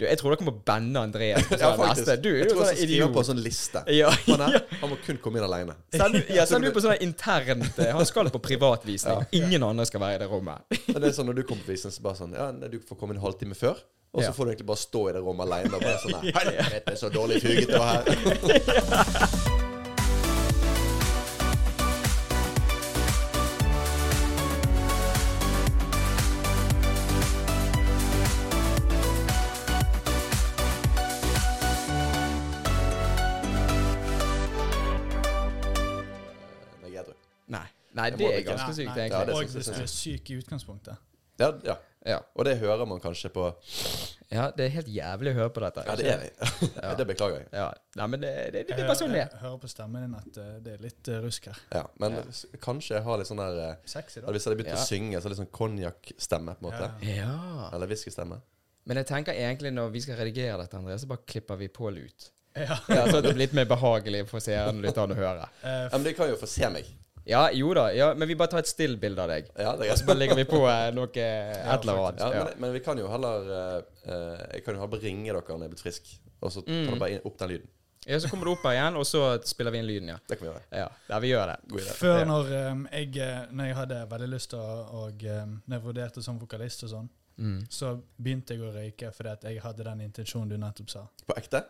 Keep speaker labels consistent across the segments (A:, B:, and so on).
A: Du, jeg tror dere må banne Andreas. på
B: Ja,
A: sånn
B: faktisk.
A: neste. Du er
B: jeg
A: jo
B: tror jeg
A: sånn
B: skal skrive på en
A: idiot.
B: sånn liste.
A: Ja,
B: Han, her,
A: ja.
B: han må kun komme inn alene.
A: Send, ja, send du på sånn internt eh, Han skal på privatvisning. Ingen andre skal være i det rommet.
B: Men det er sånn Når du kommer på visning, så bare sånn Ja, nei, du får komme en halvtime før. Og
A: Ja.
B: så får du egentlig bare stå i det rommet alene og bare sånn her, Helvete, så dårlig fuget det var her. Nei, jeg tror.
A: Nei. Nei, det
B: Det må du
A: er
B: ikke.
A: ganske sykt,
C: Nei,
B: Ja, det
A: egentlig.
C: og
B: synes jeg
C: hvis du
B: synes.
C: er syk i utgangspunktet.
B: Ja, ja.
A: Ja.
B: Og det hører man kanskje på
A: ja, det er helt jævlig å høre på dette.
B: Ja, det er det. Det beklager jeg.
A: Ja. Nei, men det, det, det, det
C: Jeg
A: er bare sånn det er.
C: Eh, hører- jeg hører på stemmen din at eh, det er litt eh, rusk her.
B: Ja, men s- kanskje jeg har litt sånn der eh,
C: Sexy, da.
B: at Hvis jeg hadde begynt
A: Ja.
B: å synge, så litt sånn konjakkstemme, på en måte.
C: Ja.
A: Ja.
B: Eller whiskystemme.
A: Men jeg tenker egentlig når vi skal redigere dette, Andreas, så bare klipper vi på lut.
C: Ja.
A: Ja, så det blir litt mer behagelig for seeren og lytteren å høre.
C: Eh,
B: Ja, men de kan jo få se meg.
A: Ja, jo da. Ja, men vi bare tar et still-bilde av deg.
B: Ja, det er
A: Og så
B: greit.
A: bare legger vi på eh, noe et eller annet.
B: Ja,
A: Ja.
B: men, men vi kan jo heller eh, eh, Jeg kan jo heller ringe dere når jeg er blitt frisk, og så
C: Mm.
B: tar jeg bare inn, opp den lyden.
A: ja, så kommer du opp her igjen, og så spiller vi inn lyden, ja.
B: Det kan vi gjøre.
A: Ja, ja vi gjør det.
B: God idé.
C: Før når um, jeg, eh, når jeg hadde veldig lyst til å og, um, Når jeg vurderte som vokalist og sånn,
A: Mm.
C: så begynte jeg å røyke fordi at jeg hadde den intensjonen du nettopp sa.
B: På ekte?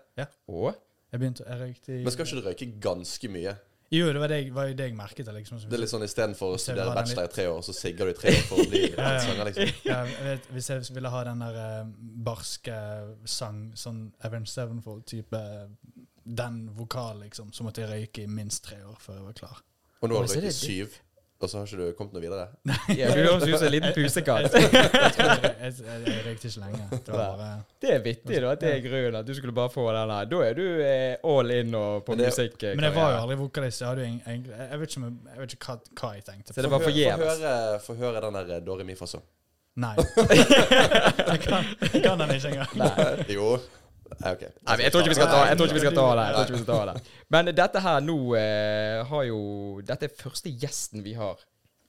A: Og
C: Jeg begynte, jeg røykte i
B: Men skal ikke du røyke ganske mye?
C: Jo, det var det jeg, var jo det jeg merket. da, Liksom, som-
B: Det er litt sånn istedenfor å
C: Hvis jeg
B: studere
C: har den
B: bachelor i tre år, så sigger du i tre år for å bli
C: ja.
B: en sanger, liksom.
C: Ja, jeg vet, hvis jeg ville ha den der eh, barske sang, sånn Avenged Sevenfold-type Den vokalen, liksom, så måtte jeg røyke i minst tre år før jeg var klar.
B: Og nå
A: Oi,
B: har
A: så
B: du
A: det
B: røyket
A: er
B: syv, og så har ikke du kommet noe videre?
A: ja, Du høres ut som en liten pusekatt.
C: Jeg, tror jeg, jeg, jeg, jeg røykte ikke lenge. Det var bare
A: Det er vittig, da. at Det er grunnen. At du skulle bare få den her. Da er du eh, all in og på
B: Men det-
A: musikk. eh,
C: Men jeg var jo
A: karriere.
C: aldri vokalist. Jeg, hadde jo eng- eng- jeg vet ikke, om jeg, jeg vet ikke hva, hva jeg tenkte.
A: Så det var
B: Få hø-
A: forgjeves.
B: Få høre, eh, få høre den der Dore Mi-fasen.
C: Nei. jeg, kan, jeg kan den ikke engang.
B: Jo. Nei, ok.
A: Nei, men jeg tror ikke vi skal ta, jeg tror ikke vi skal ta det. Jeg tror ikke vi skal ta det. Men dette her nå eh, har jo Dette er første gjesten vi har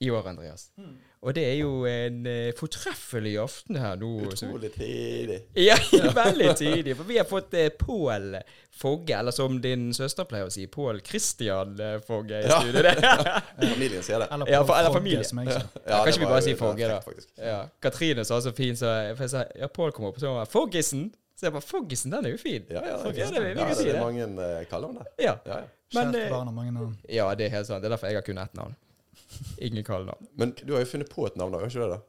A: i år, Andreas.
C: Hmm.
A: Og det er jo en eh, fortreffelig aften her nå. som-
B: Utrolig tidlig.
A: Ja, veldig tidlig. For vi har fått eh, Pål Fogge, eller som din søster pleier å si, Pål Christian eh, Fogge i
B: Ja.
A: studio. Det.
B: Familien sier det.
C: Eller,
A: Ja, for- eller
C: Fogge,
A: familie.
C: som jeg sa.
A: Ja,
B: det
A: kan ikke vi
B: var
A: bare
B: jo-
A: si
B: det var
A: Fogge, da?
B: fint, faktisk.
A: Ja. Katrine sa så fint, så jeg, for jeg sa ja, Pål kom opp, og så var hun Foggisen. Så jeg bare Foggisen, den er jo fin.
B: Ja, ja,
A: Fogge,
B: det,
A: det, vi, vi kan
B: det,
A: si
B: er
A: det.
B: mange eh, kaller om det.
A: Ja.
B: Ja, ja.
A: Men,
C: Kjært
A: eh,
C: barn har mange navn.
A: ja, det er helt sant. Det er derfor jeg har kun ett navn. Ingen kallenavn.
B: Men du har jo funnet på et navn, da? har ikke du det? da?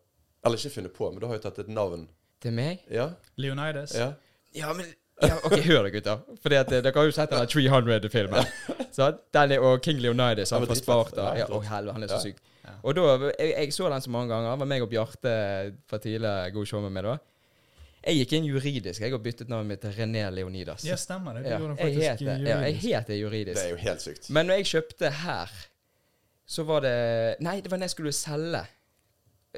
B: Eller ikke funnet på, men du har jo tatt et navn.
A: Til meg?
B: Ja?
C: Leonidas.
B: ja.
A: Ja, men ja, OK, hør det, gutter. Fordi at eh, Dere har jo sett denne 300-filmen. Sant? Den er, og King Leonidas, han
B: Ja, men
A: fra
B: dritfett.
A: Sparta.
B: Ja,
A: Ja,
B: flott.
A: å, helvete, han er så
B: Ja.
A: syk. Og da, jeg, jeg så den så mange ganger. Det var meg og Bjarte fra tidligere God Show med meg da. Jeg gikk inn juridisk jeg og byttet navnet mitt til René Leonidas.
C: Ja, stemmer det. Du
A: Ja,
C: gjorde den
A: jeg
C: faktisk eh,
A: het det. Ja, jeg
C: juridisk.
A: het det
B: Det
A: juridisk.
B: er jo helt sykt.
A: Men når jeg kjøpte her, så var det Nei, det var når jeg skulle selge.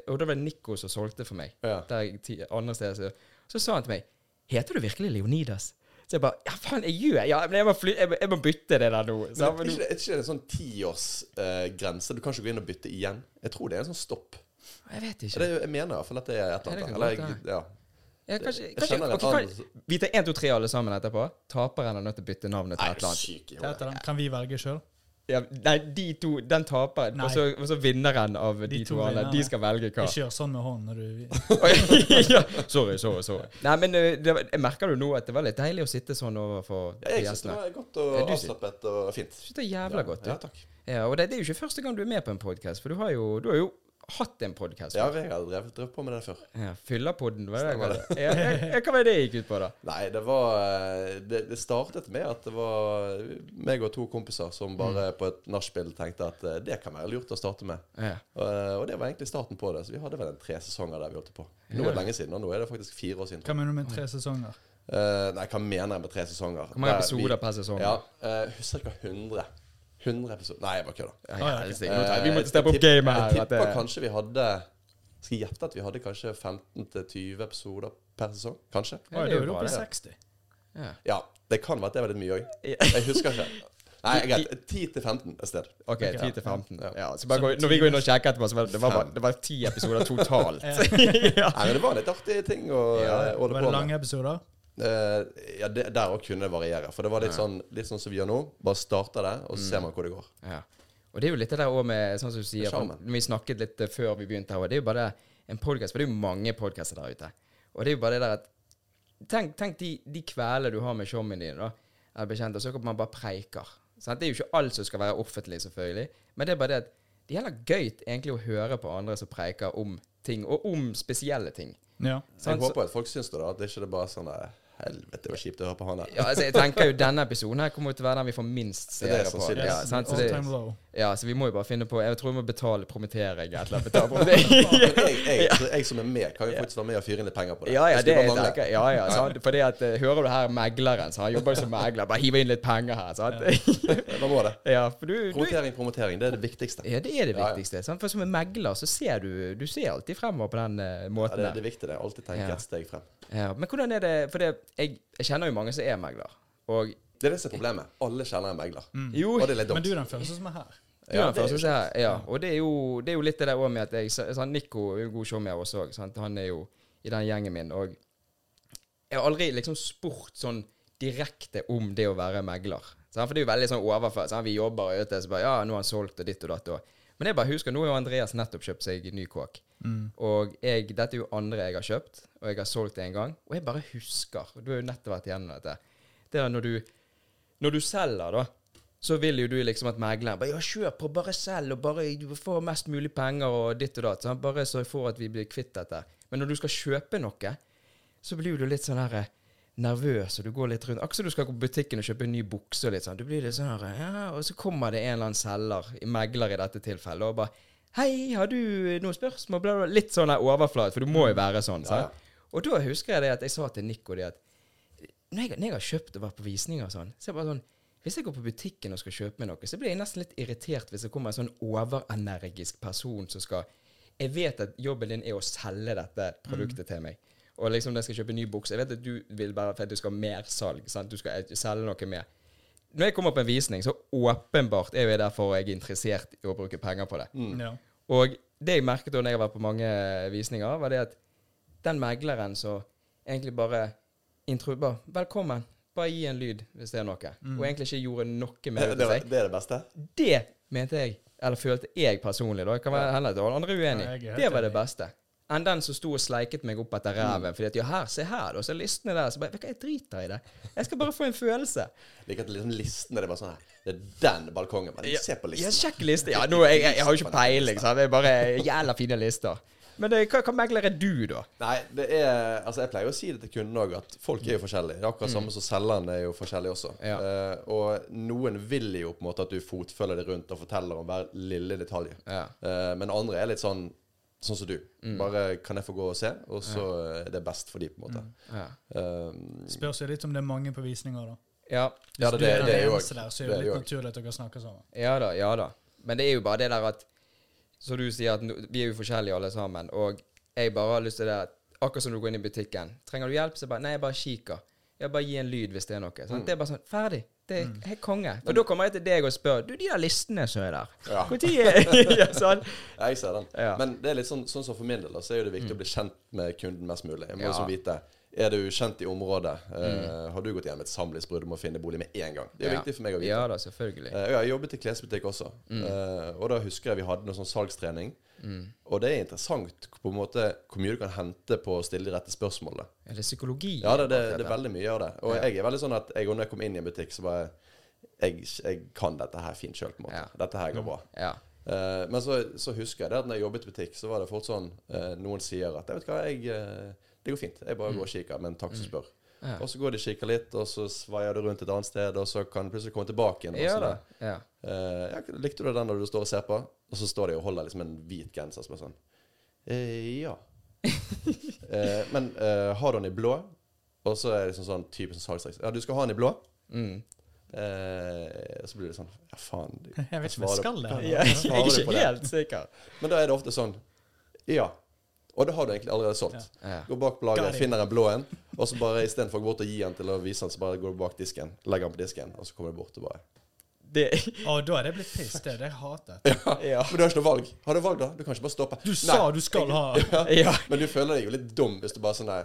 A: Og da var det Nico som solgte for meg.
B: Ja.
A: Der jeg, ti- andre steder så, så sa han til meg Heter du virkelig Leonidas? Så jeg bare Ja, faen, jeg gjør ja, men jeg, må fly, jeg, må- jeg må bytte det der nå. Så
B: Men
A: han
B: er
A: var liksom- nå-
B: ikke, det- er ikke det en sånn tiårsgrense? du kan ikke gå inn og bytte igjen? Jeg tror det er en sånn stopp.
A: jeg vet
B: Det
A: ikke.
B: er, jo- jeg mener i hvert fall at det er et
A: Ja, det
B: eller annet.
A: kan
B: Eller,
A: godt
B: jeg, ja.
A: Ja, kanskje,
B: jeg
A: kanskje,
B: kjenner en
A: ok, kan,
B: annen-
A: vi tar 1, 2, 3 alle sammen etterpå. Taperen er nødt til å bytte navnet
B: Nei,
A: til
B: er
A: et
B: du
A: eller annet.
B: syk i
C: Hva
B: hodet?
C: heter den? Kan vi velge sjøl?
A: Ja, nei, de to, den taperen,
C: Nei.
A: og så, og så vinneren av de,
C: De
A: to,
C: to
A: andre. De
C: vinnerne.
A: skal velge hva.
C: Ikke gjør sånn med hånden når du
A: Oi, ja. Sorry, sorry, sorry. Nei, men eh, det, var- jeg merker jo nå at det var litt deilig å sitte sånn overfor
B: Ja, jeg syns det
A: gjestene.
B: var godt og
A: Ja, du syns-
B: avslappet og fint.
A: Jeg synes det er jævla godt. du.
B: Ja, takk.
A: Ja, og det, det er jo ikke første gang du er med på en podkast, for du har jo, du har jo hatt en podkast.
B: Ja, jeg har drevet, drevet på med det før.
A: Ja, Fyllerpodden, hva er
B: Stemmer
A: det? Ja, ja, ja, hva var det det gikk ut på, da?
B: Nei, det var eh, det, det startet med at det var eh, meg og to kompiser som
A: Mm.
B: bare på et nachspiel tenkte at eh, det kan være lurt å starte med.
A: Ja.
B: Eh, Og det var egentlig starten på det. Så vi hadde vel en tre sesonger der vi holdt på. Nå er det lenge siden, og nå er det faktisk fire år siden. tror jeg.
C: Hva mener du med tre sesonger?
B: Eh, nei, hva mener jeg med tre sesonger?
A: Hvor mange
B: Der
A: episoder
B: vi-
A: per sesong?
B: Ja, eh, husker ikke 100. 100 episoder Nei, jeg bare kødder.
A: Ja,
C: ja,
A: helsike.
B: Eh,
A: Nå tar- Vi
B: jeg
A: måtte steppe opp
B: tipp-
A: gamet her.
B: Jeg
A: at det-
B: tipper kanskje vi hadde Skal jeg gjette at vi hadde kanskje 15-20 episoder per sesong? Kanskje?
A: Ja,
C: Oi,
A: det er
C: da er
A: jo
C: du
A: bra,
C: oppe i
A: det.
C: 60.
B: Eh,
A: Ja.
B: Ja, det kan være at det var litt mye òg. Jeg husker ikke. Nei, greit. 10-15 et sted.
A: OK,
C: Ok,
A: 10 til 15.
B: ja.
A: Ja, så bare gå, når vi går inn og sjekker etterpå, så var det, det var bare- det var ti episoder totalt.
B: Nei, men Det var litt artige ting å
A: Ja,
B: eh, holde
C: Var det
B: på med.
C: lange episoder?
B: Eh, ja, det, der òg kunne det variere. For det var litt sånn Litt sånn som vi gjør nå. Bare starter det, og så
A: Mm.
B: ser man hvor det går.
A: Ja. Og det er jo litt det der òg med Sånn som du sier, for
B: Charmen.
A: når vi snakket litt eh, før vi begynte her, og det er jo bare en podkast, for det er jo mange podkaster der ute. Og det er jo bare det der at Tenk, tenk de, de kvelene du har med showene dine, da, eller bekjente, og så kan man bare preiker. Sant? Det er jo ikke alt som skal være offentlig, selvfølgelig, men det er bare det at det er heller gøy egentlig å høre på andre som preiker om ting, og om spesielle ting.
C: Ja.
B: Jeg
A: Sant? Sånn Så-
B: håper at folk syns det, da. At det ikke er bare sånn eh, Helvete, det var kjipt å høre på han der.
A: Ja, altså, jeg tenker jo denne episoden her kommer jo til å være den vi får minst
B: Det
A: seere
B: er det
A: på.
B: sannsynligvis.
A: Ja, sant? Så
C: All
A: det,
C: time low.
A: ja, så vi må jo bare finne på Jeg tror vi må betale promittering et eller annet. Betale promittering.
B: Men jeg, jeg, så jeg som er med, kan jo faktisk være med og fyre inn litt penger på det.
A: Ja, ja,
B: Det
A: det
B: skulle bare
A: tenker
B: mangle.
A: jeg. Ja, ja, sant? Fordi at eh, Hører du her megleren, så han jobber jo som megler. Bare hiver inn litt penger her. sant?
B: Ja, Da Eh, må det.
A: Ja, for du, du
B: Promotering, promotering. Det er det viktigste.
A: ja, det er det
B: Ja, ja.
A: viktigste. Sant? For som en megler så ser du Du ser alltid fremover på den eh,
B: Ja,
A: måten.
B: det er
A: der.
B: det viktige. det. Alltid tenke
A: Ja.
B: et steg frem.
A: Ja, men hvordan er det For det, jeg, jeg kjenner jo mange som er megler. Og
B: Det er det som er problemet. Alle kjenner en megler.
A: jo,
B: Og det er litt
C: Men
B: dumt.
C: du er den første som er her.
A: Du er
B: Ja,
A: den
B: det er
A: første
B: jo
A: som er- ja. Og det er, jo, det er jo litt det der òg med at jeg sånn, Nico er jo en god showmaker også. ikke sant? Han er jo i den gjengen min. Og jeg har aldri liksom spurt sånn direkte om det å være megler. sant? For det er jo veldig sånn overført. sant? Vi jobber og ute, så bare Ja, nå har han solgt og ditt og datt og Men jeg bare husker, nå har jo Andreas nettopp kjøpt seg ny kåk.
B: Mm.
A: Og jeg, dette er jo andre jeg har kjøpt, og jeg har solgt en gang. Og jeg bare husker Du har jo nettopp vært igjennom dette. Det er når du når du selger, da, så vil jo du liksom at megleren bare Ja, kjør på, bare selg, og bare du får mest mulig penger og ditt og datt. Sant? Bare så jeg får at vi blir kvitt dette. Men når du skal kjøpe noe, så blir du litt sånn her eh, nervøs, og du går litt rundt. Akkurat som du skal gå på butikken og kjøpe en ny bukse og litt sånn. Du blir litt sånn her eh, Ja, og så kommer det en eller annen selger, megler i dette tilfellet, og bare Hei, har du noen spørsmål? Bla, bla, bla. Litt sånn der overflat, for du må jo være sånn.
B: Ja, ja.
A: sant? Og da husker jeg det at jeg sa til Nico det at når jeg, når jeg har kjøpt og vært på visninger og sånn, så er jeg bare sånn Hvis jeg går på butikken og skal kjøpe meg noe, så blir jeg nesten litt irritert hvis det kommer en sånn overenergisk person som skal Jeg vet at jobben din er å selge dette produktet til meg. Og liksom når jeg skal kjøpe en ny bukse Jeg vet at du vil bare for at du skal ha mer salg. Sant? Du skal eh, selge noe mer. Når jeg kommer på en visning, så åpenbart er jo jeg derfor jeg er interessert i å bruke penger på det.
B: Mm.
C: Ja.
A: Og det jeg merket da når jeg var på mange eh, visninger, var det at den megleren som egentlig bare intro, bare, 'Velkommen', bare gi en lyd hvis det er noe,
C: Mm.
A: og egentlig ikke gjorde noe
B: Det,
A: med det
B: det,
A: til seg,
B: det er det beste.
A: det mente jeg, eller følte jeg personlig, da, det kan være hende at alle andre er
C: Ja, jeg er
A: uenig,
C: helt
A: det var
C: enig. Mm.
A: det beste. Enn den som sto og sleiket meg opp etter ræven fordi at 'Ja, her, se her, da', så er listene der, så bare 'Vet du hva, jeg driter i det. Jeg skal bare få en følelse'.
B: Like at liksom listen er det bare sånn her. Det er den balkongen. Men
A: Ja,
B: se på
A: Ja,
B: listen.
A: sjekk liste. Ja, nå, jeg, jeg, jeg har jo ikke peiling, sant. Det er bare jævla fine lister. Men eh, hva, hva megler er du, da?
B: Nei, det er Altså, jeg pleier å si det til kunden òg, at folk er jo forskjellige. Det er akkurat samme som selgeren er jo forskjellig også.
A: Mm. Ja.
B: Eh, og noen vil jo på en måte at du fotfølger det rundt og forteller om hver lille detalj.
A: Ja. Mm.
B: Eh, men andre er litt sånn Sånn som du. Bare kan jeg få gå og se, og så er det best for de, på en måte.
A: Ja.
B: Eh,
C: Spørs jo litt om det er mange på visninger, da.
A: Ja.
B: ja, det, det,
C: Hvis du er
B: det er
C: den
B: jo
C: eneste der, så er det
B: det er
C: litt
B: jo-
C: naturlig at dere snakker sammen.
A: ja da, ja da. Men det er jo bare det der at Som du sier, at no- vi er jo forskjellige alle sammen. Og jeg bare har lyst til det at Akkurat som du går inn i butikken. Trenger du hjelp, så bare Nei, jeg bare kikker. Jeg bare gir en lyd hvis det er noe.
B: Mm.
A: Sant? Det er bare sånn Ferdig. Det er helt konge. For da kommer jeg til deg og spør Du, de der listene som er der,
B: Ja.
A: når er ja, sånn.
B: Ja, jeg ser den.
A: Ja.
B: Men det er litt sånn, sånn som for min del, da, så er jo det viktig å bli kjent med kunden mest mulig. Jeg må
A: Ja.
B: liksom vite Er du kjent i området? Eh, har du gått gjennom et samlivsbrudd og må finne bolig med en gang? Det er
A: Ja.
B: viktig for meg å vite.
A: Ja da, selvfølgelig.
B: Eh, og jeg har jobbet i klesbutikk også, Eh, og da husker jeg vi hadde noe sånn salgstrening. Og det er interessant på en måte hvor mye du kan hente på å stille de rette spørsmålene.
A: Er det psykologi?
B: Ja, det, det,
A: bak
B: det er veldig mye av det. Og jeg er veldig sånn at jeg, når jeg kom inn i en butikk, så bare Jeg, jeg kan dette her fint sjøl, på en måte.
A: Ja.
B: Dette her går bra.
A: Ja.
B: Eh, men så, så husker jeg det at når jeg jobbet i butikk, så var det fort sånn eh, Noen sier at jeg vet hva, jeg, eh, det går fint. Jeg bare
C: Mm.
B: går og kikker, men takk som spør.
A: Ja.
B: Og så går de og kikker litt, og så svaier du rundt et annet sted, og så kan du plutselig komme tilbake igjen. og
A: Ja
B: så
A: da.
B: bare,
A: Ja.
B: eh, ja, likte du den når du står og ser på? Og så står de og holder liksom en hvit genser som er sånn eh, Ja. Eh, men eh, har du den i blå? Og så er det liksom sånn typisk salgstriks. Ja, du skal ha den i blå.
A: Mm.
B: Eh, så blir det sånn Ja, faen.
C: Jeg vet ikke om jeg skal det.
A: Ja,
C: her.
A: jeg er
B: Svarer du på
A: ikke
B: det?
A: helt sikker.
B: Men da er det ofte sånn Ja. Og da har du egentlig allerede solgt.
A: Ja.
B: Går bak på
C: Got
B: laget,
C: it.
B: finner en blå en, og så bare istedenfor å gå bort og gi den til å vise den, så bare går du bak disken, legger den på disken, og så kommer du bort og bare
A: Det
C: Å, da er det blitt piss. Det er det jeg hater.
A: Ja.
B: Men du har ikke noe valg. Har du valg, da? Du kan ikke bare stoppe.
C: Du sa du skal ha
A: ja.
B: Men du føler deg jo litt dum hvis du bare sånn Nei,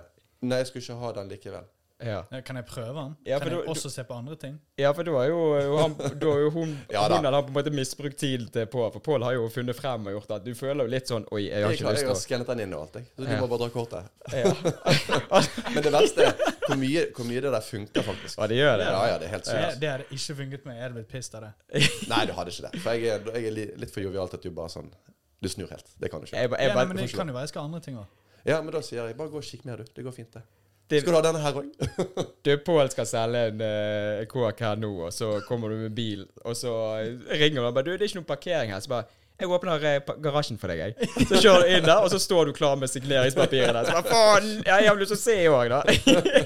B: nei jeg skulle ikke ha den likevel.
A: Ja.
C: Eh, Kan jeg prøve den?
A: Ja, for
C: kan jeg
A: du-
C: også se på andre ting?
A: ja, for da har jo, han, da har jo hun,
B: Ja da.
A: hun eller han på en måte misbrukt tiden til Pål, for Pål har jo funnet frem og gjort at du føler jo litt sånn Oi, jeg har
B: Jeg,
A: ikke
B: har- jeg har
A: lyst
B: skannet den inn og alt, jeg. Så du
A: Ja.
B: må bare dra kortet.
A: til å ja.
B: Men det verste er hvor mye, hvor mye det der funker, faktisk.
A: ja, det gjør det.
B: Ja, ja, det er helt
C: Det,
B: sykt.
C: det hadde ikke funket med. Jeg hadde blitt pissed av det.
B: Nei, du hadde ikke det. For jeg er, jeg er li- litt for jovial til at du bare sånn Du snur helt. Det kan du ikke.
A: Jeg, ba-
C: Ja,
A: jeg,
C: nei,
A: bare-
C: men det kan jo være jeg skal ha andre ting òg.
B: Ja, men da sier jeg bare gå og kikk mer, du. Det går fint, det.
A: Det-
B: Skal du ha denne her òg?
A: Du, Pål skal selge en eh, kåk her nå, og så kommer du med bil, og så eh, ringer du og bare Du, det er ikke noen parkering her. Så bare Jeg åpner eh, pa- garasjen for deg, jeg. Så kjører du inn der, og så står du klar med signeringspapiret der. Så bare faen! ja, Jeg har lyst til å se òg, da.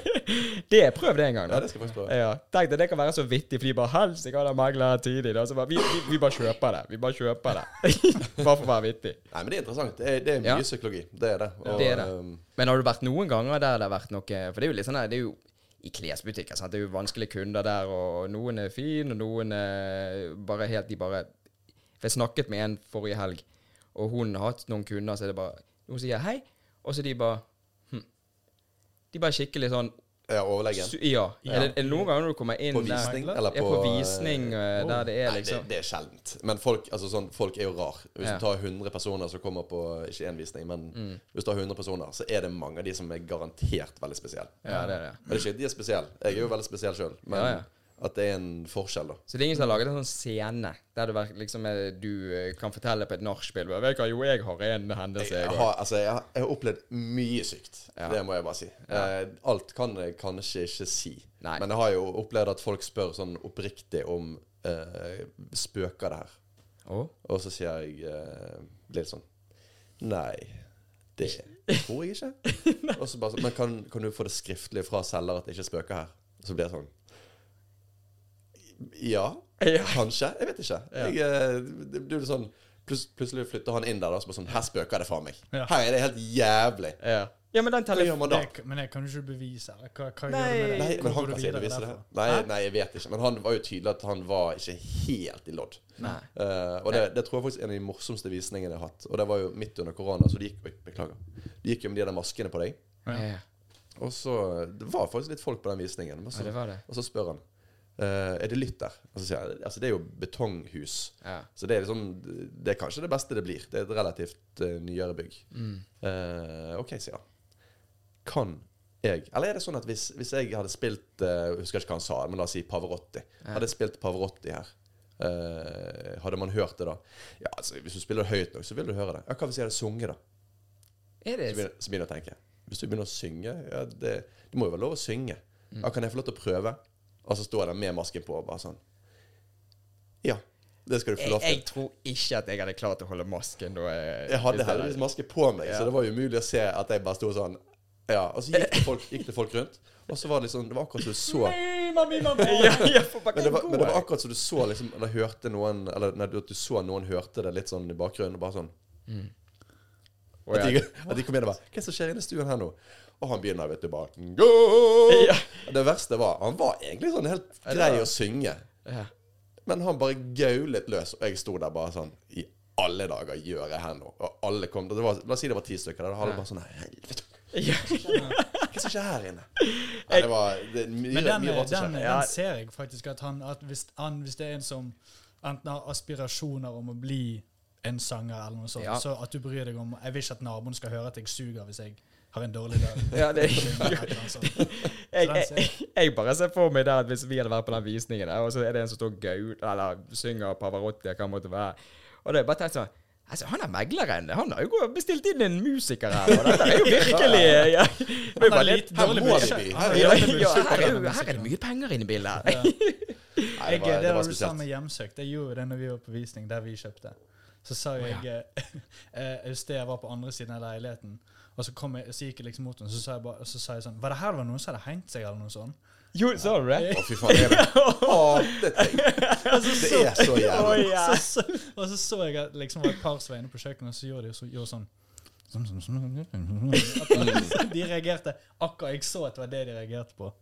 A: det, prøv det en gang,
B: Ja,
A: da.
B: det skal jeg faktisk prøve.
A: Ja, Tenk deg, det kan være så vittig, for de bare Helsike, han har mangla tidlig. Da. Så bare, vi, vi, vi bare kjøper det. Vi bare kjøper det. bare for å være vittig.
B: Nei, men det er interessant. Det er, det er mye
A: Ja.
B: psykologi. Det er det. Og,
A: Det er det.
B: um,
A: Men har du vært noen ganger der det har vært noe For det er jo litt sånn her, det er jo i klesbutikker, sant. Det er jo vanskelige kunder der, og noen er fin, og noen er bare helt De bare For jeg snakket med en forrige helg, og hun har hatt noen kunder, så er det bare Hun sier hei, og så de bare hm. De bare skikkelig sånn
B: ja, overlegen.
A: su- Ja. Er det, er det noen ganger når du kommer inn
B: På visning,
A: der
B: eller
A: Ja, på
B: på, eh,
A: visning eh, der det er
B: Nei, det,
A: liksom
B: det er sjeldent. Men folk, altså sånn, folk er jo rar. Hvis
A: Ja. Mm.
B: du tar 100 personer som kommer på Ikke én visning, men hvis du har 100 personer, så er det mange av de som er garantert veldig spesielle.
A: Ja, det er det.
B: Men det er ikke at de er spesielle. Jeg er jo veldig spesiell sjøl. Men
A: Ja, ja.
B: at det er en forskjell, da.
A: Så det er ingen som har laget en sånn scene der du, ver- liksom, eh, du eh, kan fortelle på et nachspiel bare, Vet du hva, jo, jeg har en hendelse,
B: Jeg
A: jeg også."
B: har, altså, jeg har, jeg har opplevd mye sykt. Det må jeg bare si. Eh, alt kan jeg kanskje ikke si.
A: Nei.
B: Men jeg har jo opplevd at folk spør sånn oppriktig om eh, Spøker det her?
A: Å?
B: Og så sier jeg eh, litt sånn Nei, det tror jeg ikke. Og så bare sånn Men kan, kan du få det skriftlig fra selger at det ikke spøker her? Og så blir jeg sånn Ja,
A: Ja.
B: kanskje. Jeg vet ikke. Jeg, eh, det det blir sånn plus, Plutselig flytter han inn der, da, så bare sånn Her spøker det faen meg.
C: Ja.
B: Her er det helt jævlig.
A: Ja. ja, men den
B: Hva
A: tele-
B: gjør man da?
C: Men jeg kan jo ikke bevise det. Hva, hva
A: Nei.
C: gjør du med det?
B: Nei, men
C: Hvor
B: han
C: går du
B: kan sikkert
C: videre
B: vise det.
C: derfra?
B: Nei, nei, jeg vet ikke. Men han var jo tydelig at han var ikke helt i lodd.
A: Nei.
B: Eh, og det, det tror jeg faktisk er en av de morsomste visningene jeg har hatt. Og det var jo midt under korona, så det gikk Oi, beklager. Det gikk jo med de der maskene på deg.
A: Ja, ja.
B: Og så Det var faktisk litt folk på den visningen. Men
A: Ja,
B: så,
A: det var det.
B: og så spør han eh, Er det lytt der? Og så sier jeg Altså, det er jo betonghus.
A: Ja.
B: Så det er liksom Det er kanskje det beste det blir. Det er et relativt eh, nyere bygg.
A: Mm.
B: Eh, OK, sier han. Kan jeg Eller er det sånn at hvis, hvis jeg hadde spilt eh, Jeg husker ikke hva han sa, men la oss si Pavarotti. Hadde jeg spilt Pavarotti her, eh, hadde man hørt det da? Ja, altså, hvis du spiller det høyt nok, så vil du høre det. Ja, Hva hvis jeg hadde sunget, da?
A: Er
B: Så
A: det
B: begynner, så begynner jeg å tenke Hvis du begynner å synge ja, det, det må jo være lov å synge
A: Mm.
B: ja, Kan jeg få lov til å prøve? Og så står jeg der med masken på og bare sånn Ja, det skal du få
A: jeg,
B: lov til
A: jeg tror ikke at jeg hadde klart å holde masken da eh, jeg
B: Jeg hadde heldigvis maske på meg
A: Ja.
B: Så det var jo umulig å se at jeg bare stod sånn Ja, og så gikk det folk, gikk det folk rundt Og så var det liksom, det var akkurat som du så
A: ja, ja, for bare
B: men det, var, men det var
A: gå.
B: akkurat som du så liksom, eller hørte noen Eller nei, at du så noen hørte det litt sånn i bakgrunnen. og Bare sånn
A: Å,
B: At
A: ja.
B: de, at de kom inn og bare Hva er det som skjer inne i stuen her nå? Og han begynner, vet du, bare Go!
A: Ja.
B: Det verste var Han var egentlig sånn helt grei å synge.
A: Ja.
B: Men han bare gaulet løs, og jeg sto der bare sånn I alle dager gjør jeg her nå? Og alle kom det var, La oss si det var ti stykker der. Da hadde jeg bare sånn Helvete,
A: Ja.
B: hva er det som skjer her inne? Nei, det var det, er mye,
C: Men den,
B: mye rart som
C: den,
B: skjer.
A: Ja.
C: den ser jeg faktisk at han at hvis, han hvis det er en som enten har aspirasjoner om å bli en sanger eller noe sånt,
A: Ja.
C: så at du bryr deg om Jeg vil ikke at naboen skal høre at jeg suger hvis jeg har en dårlig dag.
A: Ja, det-
C: Eller et eller annet sånt.
A: Jeg,
C: Sånn
A: jeg, jeg bare ser for meg der at hvis vi hadde vært på den visningen der, og så er det en som står og gaut, eller synger Pavarotti, eller hva det måtte være, og da har jeg bare tenkt sånn Altså, Han er megleren. Han har jo gå- bestilt inn en musiker her. Og dette er jo virkelig ja. Det er bare litt-
B: her må
C: budsjett.
B: de bli.
C: Han har
A: Ja,
C: dårlig
A: ja,
C: budsjett på
A: her, er
C: denne
A: jo, her er det
C: musikken.
A: mye penger inne i bildet. her.
B: Nei,
C: jeg,
B: det var,
C: det
B: det var
C: var du sa
B: spesielt.
C: med hjemsøkt. Jeg gjorde det når vi var på visning, der vi kjøpte. Så sa jo jeg eh, et sted jeg var på andre siden av leiligheten, og så, kom jeg, så gikk jeg liksom mot henne, så sa jeg, bare, og så sa jeg sånn Var det her det var noen som hadde hengt seg, eller noe sånt?
A: Jo, sa du det?
B: Å, fy faen. Jeg hatet deg. Det er så jævlig.
A: Oi, ja.
C: Altså, Så, så, og så så jeg at liksom var et par som var inne på kjøkkenet, og så gjorde de så, gjorde sånn At sånn- De reagerte akkurat Jeg så at det var det de reagerte på.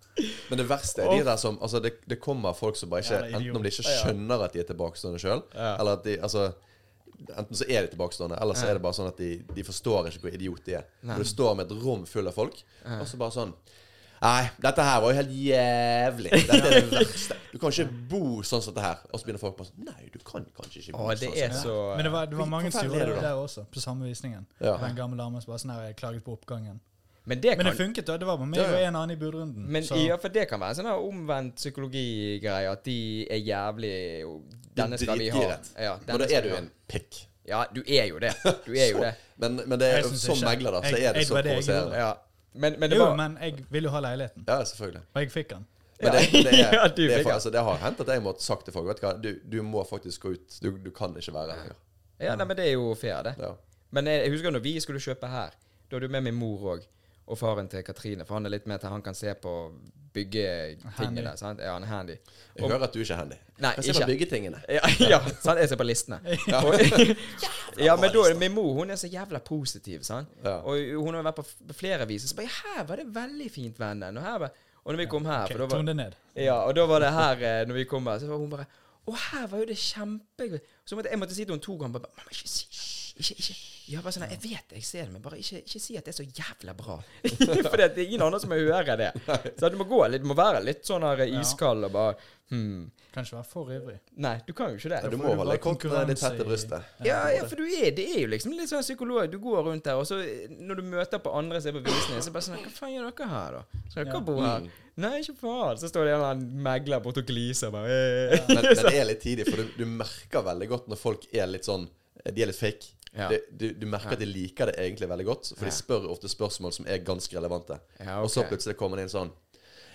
B: Men det verste er de der som Altså, det, det kommer folk som bare ikke
C: Jævla idiot.
B: Enten om de ikke skjønner at de er tilbakestående sjøl, eller at de Altså Enten så er de tilbakestående, eller så er det bare sånn at de, de forstår ikke hvor idiot de er.
A: Nei.
B: For du står med et rom fullt av folk, og så bare sånn Nei, dette her var jo helt jævlig. Dette er det verste. Du kan ikke bo sånn som dette her. Og så begynner folk bare sånn Nei, du kan kanskje ikke bo
A: Å, det
B: sånn.
A: er så
C: eh, Men det var, det var mange som
B: forferdelig er
C: gjorde
B: du
C: det
B: da.
C: der også, på samme visningen.
B: Ja.
C: Den gamle damen som bare sånn her klaget på oppgangen.
A: Men det
C: Men det
A: kan
C: funket, da. Det var bare meg
B: Ja, ja.
C: og en annen i budrunden.
A: men,
C: så-
A: ja, for det kan være en sånn her omvendt psykologigreie, at de er jævlig og Denne skal vi ha.
B: Dritdyret.
A: Ja,
B: Men
A: denne
B: da
A: skal
B: er du
A: vi ha.
B: en pikk.
A: Ja, du er jo det. Du er jo
B: Så-
A: det.
B: Men, men det
C: Jeg
B: er,
C: synes
B: som
C: ikke.
B: megler, da, så
C: Jeg-
B: er det
C: jeg-
B: så
C: var det jeg
B: provoserende.
A: Ja. Men, men det
C: Jo,
A: var
C: men jeg ville jo ha leiligheten,
B: Ja, selvfølgelig.
C: og jeg fikk den.
B: Men det,
A: Ja.
B: det, er,
A: Ja, du
B: det, er,
A: fikk
B: fa-
A: den.
B: altså, det har hendt at jeg måtte sagt til folk Vet du hva, du, du må faktisk gå ut. Du, du kan ikke være her.
A: Ja, nei, men det er jo fair, det.
B: Ja.
A: Men jeg jeg husker når vi skulle kjøpe her, da hadde du med min mor òg. Og faren til Katrine, for han er litt mer til han kan se på
C: Handy.
A: byggetingene. Sant? Ja, han er handy.
B: Jeg hører at du ikke er handy.
A: Nei,
B: Men se på
A: ikke.
B: byggetingene.
A: Ja, ja sant? jeg ser på listene. Og, ja, men da er det min mor. Hun er så jævla positiv, sant.
B: Ja.
A: Og hun har vært på f- på flere viser. Så bare ja, her var det veldig fint, vennen. Og, her var, og når vi kom her
C: Ok,
A: for da var,
C: Tone det ned.
A: Ja, og da var det her eh, Når vi kom her, så var hun bare Å, her var jo det kjempegøy. Så måtte, jeg måtte si til henne to ganger bare, Mamma, ikke si hysj, ikke, ikke. Ja, bare sånn, Jeg vet det, jeg ser det, men bare ikke, ikke si at det er så jævla bra. For det er ingen andre som hører det. Så du må gå litt, du må være litt sånn her iskald og bare hm.
C: Kan ikke være for ivrig.
A: Nei, du kan jo ikke
B: Ja,
A: det.
B: du
C: får
B: må
C: du
B: holde
C: bare
B: kortene litt tett
C: konkurranse
B: til
C: i-
B: brystet.
A: Ja, ja, for du er, det er jo liksom litt sånn psykolog. Du går rundt der, og så eh, når du møter på andre som er på visning, så er det bare sånn Hva faen gjør dere her, da? Skal dere
C: Ja.
A: bo
B: Mm.
A: her? Nei, ikke faen. Så står det en eller annen megler borte og gliser bare eh.
B: Men, men det er litt tidlig, for du, du merker veldig godt når folk er litt sånn De er litt fake.
A: Ja.
B: Det- Du, du merker at de liker det egentlig veldig godt,
A: Ja.
B: for de spør ofte spørsmål som er ganske relevante.
A: Ja,
B: Og så
A: ok.
B: plutselig kommer det inn sånn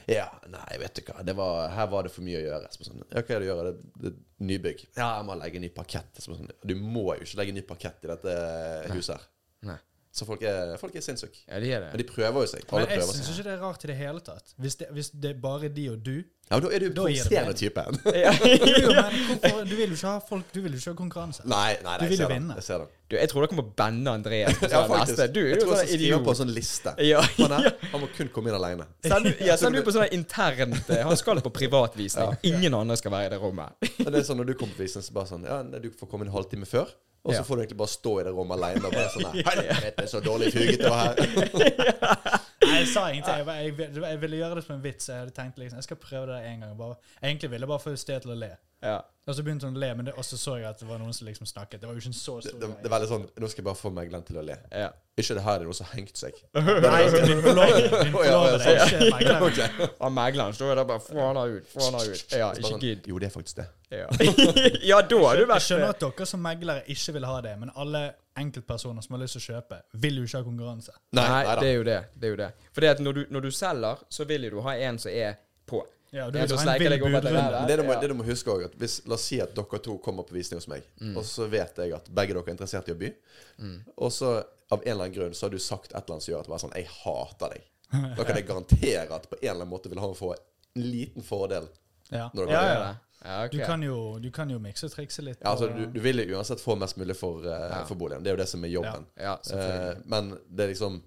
B: Ja, nei, vet du hva, det var, her var det for mye å gjøre. Så sånn, ja, hva er det å gjøre? Det, det, er nybygg. Ja, jeg må legge ny parkett. Så sånn, du må jo ikke legge ny parkett i dette huset her.
A: Nei.
B: Så folk er, folk er sinnssyke.
A: Ja, de er det.
B: Men de prøver jo seg.
C: Men
B: Alle
C: jeg
B: prøver
C: syns
B: seg.
C: ikke det er rart i det hele tatt. Hvis det, hvis det er bare de og du
B: Ja, da er du
C: Da gir det
B: provoserende typen.
C: Jo, jo, men hvorfor, Du vil jo ikke ha folk Du vil jo ikke ha konkurranse.
B: Nei, nei, nei,
C: Du vil
B: jeg
C: jo
B: ser den.
C: vinne.
B: Jeg ser den.
A: Du, jeg tror dere må banne Andreas. på
B: Ja,
A: sånn
B: faktisk.
A: neste. Du er
B: jeg
A: jo
B: tror jeg
A: sånn
B: skal skrive på en
A: idiot.
B: sånn liste.
A: Ja,
B: Han, her, han må kun komme inn alene.
A: Send, ja, send du på sånn internt eh, Han skal på privatvisning. Ingen andre skal være i det rommet.
B: Men det er sånn når du kommer på visning, så bare sånn Ja, nei, du får komme en halvtime før. Og så
A: Ja.
B: får du egentlig bare stå i det rommet alene og bare sånn her, Helvete, så dårlig fuget det var her.
C: Nei, jeg sa ingenting. Jeg, bare- jeg, vil- jeg ville gjøre det som en vits. Jeg hadde tenkt liksom Jeg skal prøve det der en gang. Bare, egentlig ville jeg bare få Sted til å le.
A: Ja.
C: Og så begynte hun å le, men det, og så så jeg at det var noen som liksom snakket. Det var jo ikke en så
B: Det,
C: stor
B: det, det er veldig sånn Nå skal jeg bare få megleren til å le.
A: Ja.
B: Ikke det her er noe som har hengt seg.
C: Nei, din forlovede. Din
B: Å, ja, ja,
C: forlovede er ikke megler.
B: Ok.
A: Og megleren står jo der bare Få han her ut, få han her ut. Ja,
B: Så bare
A: ikke
B: sånn,
A: gidd.
B: Jo, det er faktisk det.
A: Ja. ja, da har du
C: Jeg
A: vært
C: skjønner at dere som meglere ikke vil ha det, men alle enkeltpersoner som har lyst til å kjøpe, vil jo ikke ha konkurranse.
A: Nei,
B: neida.
A: det er jo det. det, er jo det. For det at når du, når du selger, så vil jo du ha en som er på.
C: Ja, og du
A: En
C: vil
A: som
C: ha en
A: sleiker
C: vill
A: deg over til
C: budrunde.
B: Men det du må,
A: Ja.
B: det du må huske også, at hvis, La oss si at dere to kommer på visning hos meg,
A: Mm.
B: og så vet jeg at begge dere er interessert i å by. Og så av en eller annen grunn så har du sagt et eller annet som gjør at det bare er sånn, jeg hater deg. Da kan jeg garantere at på en eller annen måte vil han få en liten fordel.
C: Ja.
B: Når dere
C: Ja,
B: har
C: ja.
A: Ja, ok.
C: Du kan jo, du kan jo mikse og trikse litt.
B: Ja, altså,
C: og-
B: du, du vil jo uansett få mest mulig for, eh, for boligen. Det er jo det som er jobben.
A: Ja, selvfølgelig.
B: Eh, men det er liksom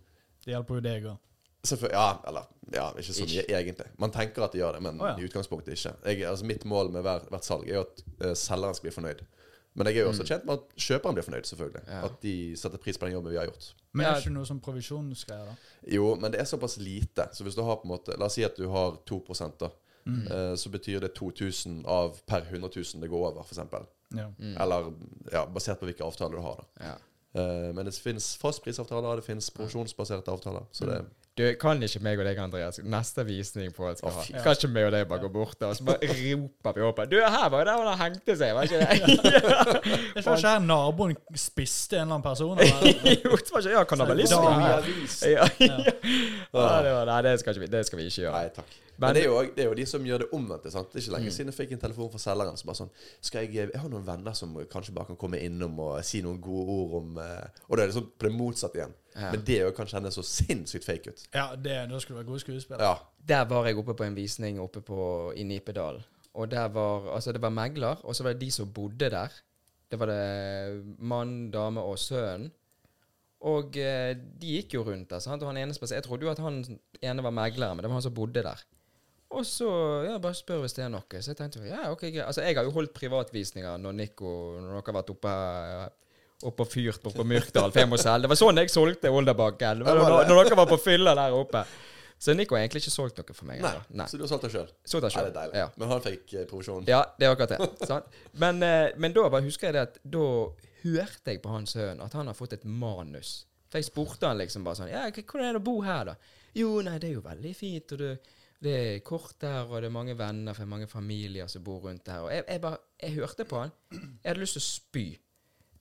C: Det hjelper jo deg òg.
B: Selvfølgelig, ja, eller ja, ikke så mye, egentlig. Man tenker at de gjør det, men
C: Å, ja.
B: i utgangspunktet ikke. Jeg, altså, mitt mål med hver, hvert salg er jo at eh, selgeren skal bli fornøyd. Men jeg er jo
C: Mm.
B: også tjent med at kjøperen blir fornøyd, selvfølgelig.
A: Ja.
B: At de setter pris på den jobben vi har gjort.
C: Men
A: Ja.
C: er det ikke noe sånn provisjonsgreier, da?
B: Jo, men det er såpass lite, så hvis du har på en måte La oss si at du har 2 da.
C: Mm.
B: eh, Så betyr det 2000 av per 100 000 det går over, f.eks.
C: Ja.
B: Eller ja, basert på hvilke avtaler du har. da.
A: Ja.
B: Eh, Men det finnes fastprisavtaler, det finnes produksjonsbaserte avtaler.
C: Mm.
B: Så det,
A: Du, kan ikke meg og deg, Andreas, neste visning på at skal
B: Å,
A: ha
B: fy
A: Kan ikke meg og deg bare gå bort der, og så bare roper vi opp her, Du, her var jo der hun hengte seg, var ikke det?
C: Jeg tror ikke her naboen spiste en eller annen person. Eller?
A: jo, det var ikke Ja, kannibalisme.
C: Da-
A: Ja, ja. ja, det var, nei, det skal, ikke, vi- det skal vi ikke gjøre.
B: Nei, takk. Men, det, er jo, også- det er jo de som gjør det omvendte. sant? Det er ikke
A: Mm.
B: lenge siden jeg fikk en telefon fra selgeren som bare sånn skal jeg, 'Jeg har noen venner som kanskje bare kan komme innom og si noen gode ord om eh, Og da er det sånn på det motsatte igjen.
A: Ja.
B: Men det òg kan kjennes så sinnssykt fake ut.
C: Ja, det, da skulle du være god skuespiller.
B: Ja.
A: Der var jeg oppe på en visning oppe på, i Nipedal. Og der var, altså det var megler, og så var det de som bodde der. Det var det mann, dame og sønn. Og eh, de gikk jo rundt der. sant? Og han ene spes- Jeg trodde jo at han ene var megler, men det var han som bodde der. Og så ja, bare spør hvis det er noe. Så jeg tenkte ja, ok, greit. Altså, jeg har jo holdt privatvisninger når Nico når dere har vært oppe oppe og fyrt oppe på Myrkdal, for jeg må selge. Det var sånn jeg solgte Olderbakken. Det var
B: Ja, var
A: Når,
B: det?
A: når dere var på fylla der oppe. Så Nico har egentlig ikke solgt noe for meg.
B: Nei.
A: altså. Nei.
B: Så du har solgt deg sjøl?
A: Solgt det
B: Ja,
A: selv.
B: det er deilig.
A: Ja.
B: Men han fikk eh, provisjon.
A: ja, det er akkurat det. sant? Men, eh, men da bare husker jeg det at da hørte jeg på han sønnen at han har fått et manus. For jeg spurte han liksom bare sånn Ja, hva- hvordan er det å bo her, da? Jo, nei, det er jo veldig fint, og det, det er kort her, og det er mange venner fra mange familier som bor rundt her. Og jeg, jeg bare Jeg hørte på han. Jeg hadde lyst til å spy.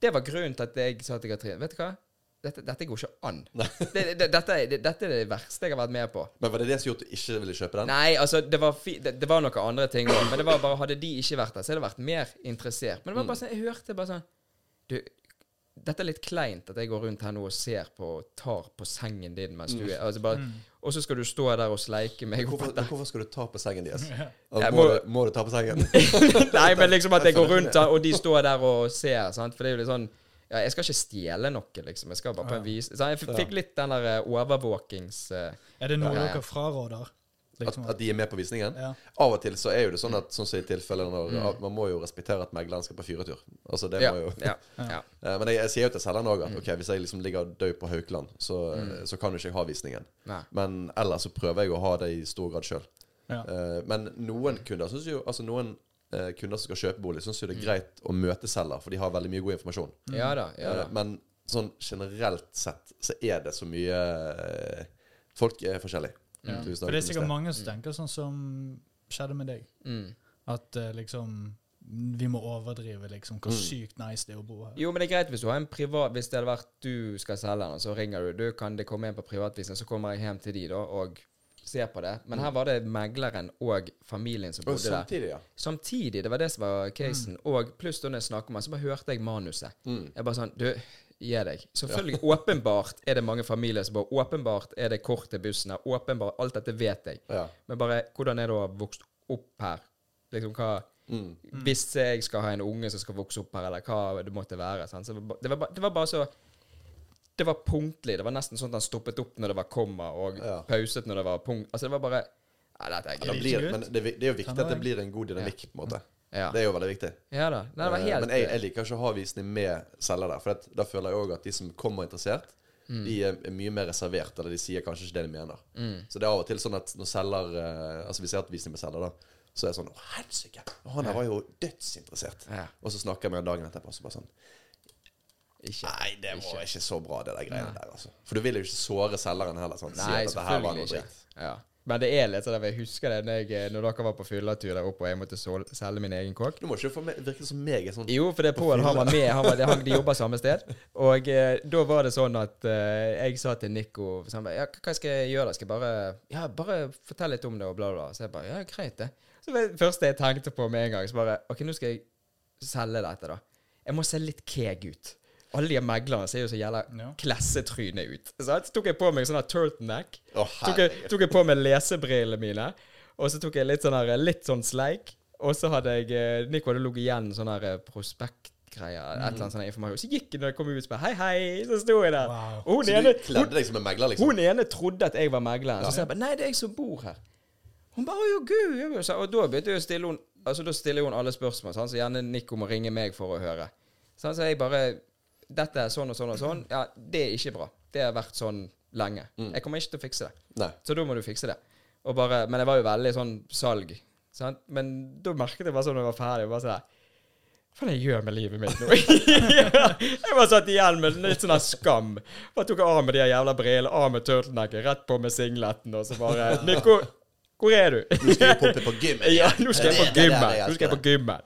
A: Det var grunnen til at jeg sa til Katrin Vet du hva? Dette, dette går ikke an. Det, det, dette, er- det, dette er det verste jeg har vært med på.
B: Men var det det som gjorde at du ikke ville kjøpe den?
A: Nei, altså, det var, fi det, det var noen andre ting òg, men det var bare, hadde de ikke vært der, så hadde jeg vært mer interessert. Men det var bare sånn, jeg hørte bare sånn Du, dette er litt kleint at jeg går rundt her nå og ser på tar på sengen din mens du er altså bare, Og så skal du stå der og sleike meg opp
B: Mm. Hvorfor,
A: etter
B: hvorfor skal du ta på sengen deres?
A: Jeg
B: Altså, må,
A: må-
B: du- må du ta på sengen?
A: Nei, men liksom at jeg går rundt her, og de står der og ser, sant? For det er jo litt sånn ja, Jeg skal ikke stjele noe, liksom. Jeg skal bare på en vis Så jeg f- fikk litt den der eh, overvåkings... eh,
C: Er det noe
A: Ja, ja.
C: dere fraråder?
B: At,
C: Liksom,
B: at de er med på visningen?
C: Ja.
B: Av og til så er jo det sånn
A: Mm.
B: at sånn som i tilfellet når at Man må jo respektere at megleren skal på fyretur. Altså det
A: ja,
B: må jo
A: ja, ja.
B: Eh, Men jeg, jeg sier jo til selgeren òg at
A: Mm.
B: ok, hvis jeg liksom ligger død på Haukeland, så, eh, så kan jo ikke jeg ha visningen.
A: Nei.
B: Men ellers så prøver jeg å ha det i stor grad sjøl.
C: Ja.
B: Men noen kunder synes jo Altså noen eh, kunder som skal kjøpe bolig, syns
A: Mm.
B: jo det er greit å møte selger, for de har veldig mye god informasjon.
A: ja da. Ja da.
B: Eh, Men sånn generelt sett så er det så mye eh, Folk er forskjellige.
C: Ja.
B: Tusen takk
C: For det er
B: for
C: sikkert
B: det.
C: mange som tenker sånn som skjedde med deg.
A: Mm.
C: At eh, liksom Vi må overdrive liksom hvor
B: Mm.
C: sykt nice det er å bo her.
A: Jo, men det er greit hvis du har en privat Hvis det hadde vært du skal selge den, og så ringer du Du kan det komme inn på privatvisning, så kommer jeg hjem til de da og ser på det. Men her var det megleren og familien som
B: Og
A: bodde der.
B: samtidig, Mm. ja.
A: Samtidig, det var det som var casen. Og pluss da når jeg snakker med han, så bare hørte jeg manuset.
B: Mm.
A: Jeg bare sånn Du, gi deg. Selvfølgelig, åpenbart er det mange familier som bor Åpenbart er det kort til bussen her. Åpenbart Alt dette vet jeg.
B: ja.
A: Men bare hvordan er det å ha vokst opp her? Liksom hva
B: Mm.
A: Hvis jeg skal ha en unge som skal vokse opp her, eller hva det måtte være. Sant? Så det, var, ba- det, var, ba- det var bare så Det var punktlig. Det var nesten sånn at han stoppet opp når det var komma, og
B: Ja.
A: pauset når det var punkt. Altså, det var bare Nei, dette er
B: Ja, det
A: gøy.
B: blir,
C: Ikke
B: men
C: ut.
B: det, er vi- det er jo viktig at det
C: Tannlegg.
B: blir en god dynamikk, på en måte.
A: Ja.
B: Det er jo veldig viktig.
A: ja da. Nei, det var
B: Eh,
A: helt
B: Men jeg, jeg liker ikke å ha visning med selger der, for at, da føler jeg òg at de som kommer interessert,
A: Mm.
B: de er, er mye mer reservert, eller de sier kanskje ikke det de mener.
A: Mm.
B: Så det er av og til sånn at når selger eh, Altså hvis jeg har hatt visning med selger, da, så er jeg sånn Å, helsike! Han her var jo dødsinteressert.
A: Ja.
B: Og så snakker jeg med han dagen etterpå, og så bare sånn
A: Ikke.
B: Nei, det var ikke så bra, det der greiene der, altså. For du vil jo ikke såre selgeren heller. Sånn, si
A: Nei,
B: at dette her var
A: selvfølgelig
B: noe
A: ikke.
B: dritt.
A: Ja. Men det er litt sånn at jeg husker det når, jeg, når dere var på fylletur der oppe, og jeg måtte sol- selge min egen kåk.
B: Du må ikke få meg, virke som meg er sånn
A: Jo, for det er Pål han var med. Han var, han, de jobber samme sted. Og eh, da var det sånn at eh, jeg sa til Nico så han ba, ja, hva- Hva skal jeg gjøre? da? Skal jeg bare Ja, bare fortell litt om det, og bla, bla. bla. Så jeg bare Ja, greit, det. Så det første jeg tenkte på med en gang, så bare OK, nå skal jeg selge dette, da. Jeg må se litt keeg ut. Alle de meglerne ser jo så jævla
C: Ja.
A: klassetryne ut. Sant? Så tok jeg på meg sånn her turtleneck.
B: Å,
A: tok, jeg, tok jeg på meg lesebrillene mine, og så tok jeg litt sånn, her, litt sånn sleik. Og så hadde jeg eh, Nico hadde ligget igjen sånn her eh, prospektgreier, et eller
B: Mm.
A: annet sånn her informasjon. Så gikk jeg når jeg kom ut, så bare hei, hei, så sto jeg der.
C: Wow.
A: Og hun
B: Så du
A: ene, hun,
B: kledde deg som en megler, liksom?
A: hun ene trodde at jeg var megleren. Så sa jeg bare nei, det er jeg som bor her. Hun bare å jo, gud. jo, jo», sa- Og da begynte jeg å stille hun Altså da stiller hun alle spørsmål, sant? så gjerne Nico må ringe meg for å høre. Sånn, så jeg bare Dette er sånn og sånn og sånn.
B: Mm.
A: Ja, det er ikke bra. Det har vært sånn lenge. Jeg kommer ikke til å fikse det.
B: Nei.
A: Så da må du fikse det. Og bare, men jeg var jo veldig sånn salg. Sant? Men da merket jeg bare sånn når jeg var ferdig bare sånn, Hva faen jeg gjør med livet mitt nå? jeg var satt igjen med litt sånn her skam. Bare tok av meg de her jævla brillene, av med turtlenecket, rett på med singleten, og så bare Nico, hvor er du?
B: Du skal jo pumpe på gym.
A: Ja, nå skal jeg på gymmen.
B: Det er det jeg
A: Nå skal jeg på gymmen.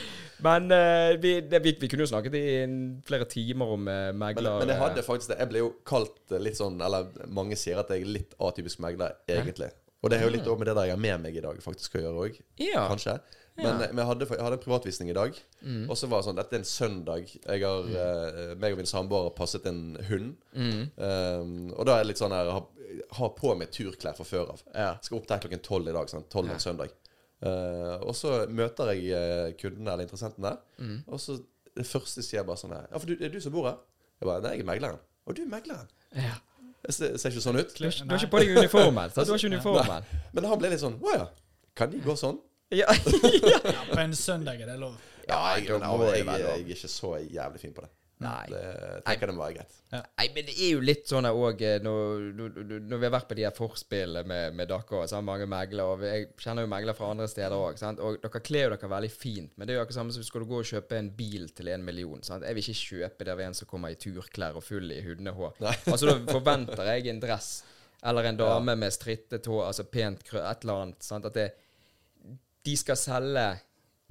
A: Men eh, vi, det, vi, vi kunne jo snakket i en- flere timer om eh,
B: Men,
A: megler...
B: men jeg hadde faktisk det. Jeg ble jo kalt eh, litt sånn Eller mange sier at jeg er litt atypisk megler, egentlig. Og det har jo litt også med det der jeg har med meg i dag, faktisk, å gjøre òg.
A: Ja. Mm.
B: Kanskje. Men, eh, men jeg, hadde, jeg hadde en privatvisning i dag, og så var det sånn Dette er en søndag. Jeg har, eh, meg og min samboer har passet en hund.
A: Mm.
B: Um, og da er det litt sånn her Har ha på meg turklær fra før av.
A: Ja.
B: Skal opp der klokken tolv i dag. Sånn, tolv en søndag. Eh, og så møter jeg eh, kundene eller interessenten der.
A: Mm.
B: Og så det første sier jeg bare sånn her Ja, for du, er du som bor her? Jeg bare Nei, jeg er megleren. Å, du er megleren?
A: Ja.
B: Jeg ser, ser ikke sånn ut.
A: Du, har ikke- du har ikke på deg uniformen. sant? Du har ikke
B: Nei.
A: uniformen.
B: Men han ble litt sånn Å ja. Kan de gå sånn?
A: Ja.
C: På en søndag er det lov.
B: Ja, jeg,
A: da
B: men,
A: må
B: jeg,
A: det være
B: jeg,
A: lov.
B: er ikke så jævlig fin på det.
A: Nei.
B: Det tenker jeg må være greit.
A: Nei, men det er jo litt sånn her òg eh, når, når- når- når vi har vært på de her forspillene med, med dere, så har mange meglere og vi- Jeg kjenner jo meglere fra andre steder òg. Og dere kler jo dere veldig fint, men det er jo akkurat samme som skal du gå og kjøpe en bil til en million. Sant? Jeg vil ikke kjøpe der ved en som kommer i turklær og full i hundehår. Altså, da forventer jeg en dress eller en dame med strittet hår, altså pent krø, et eller annet. Sant? At det, de skal selge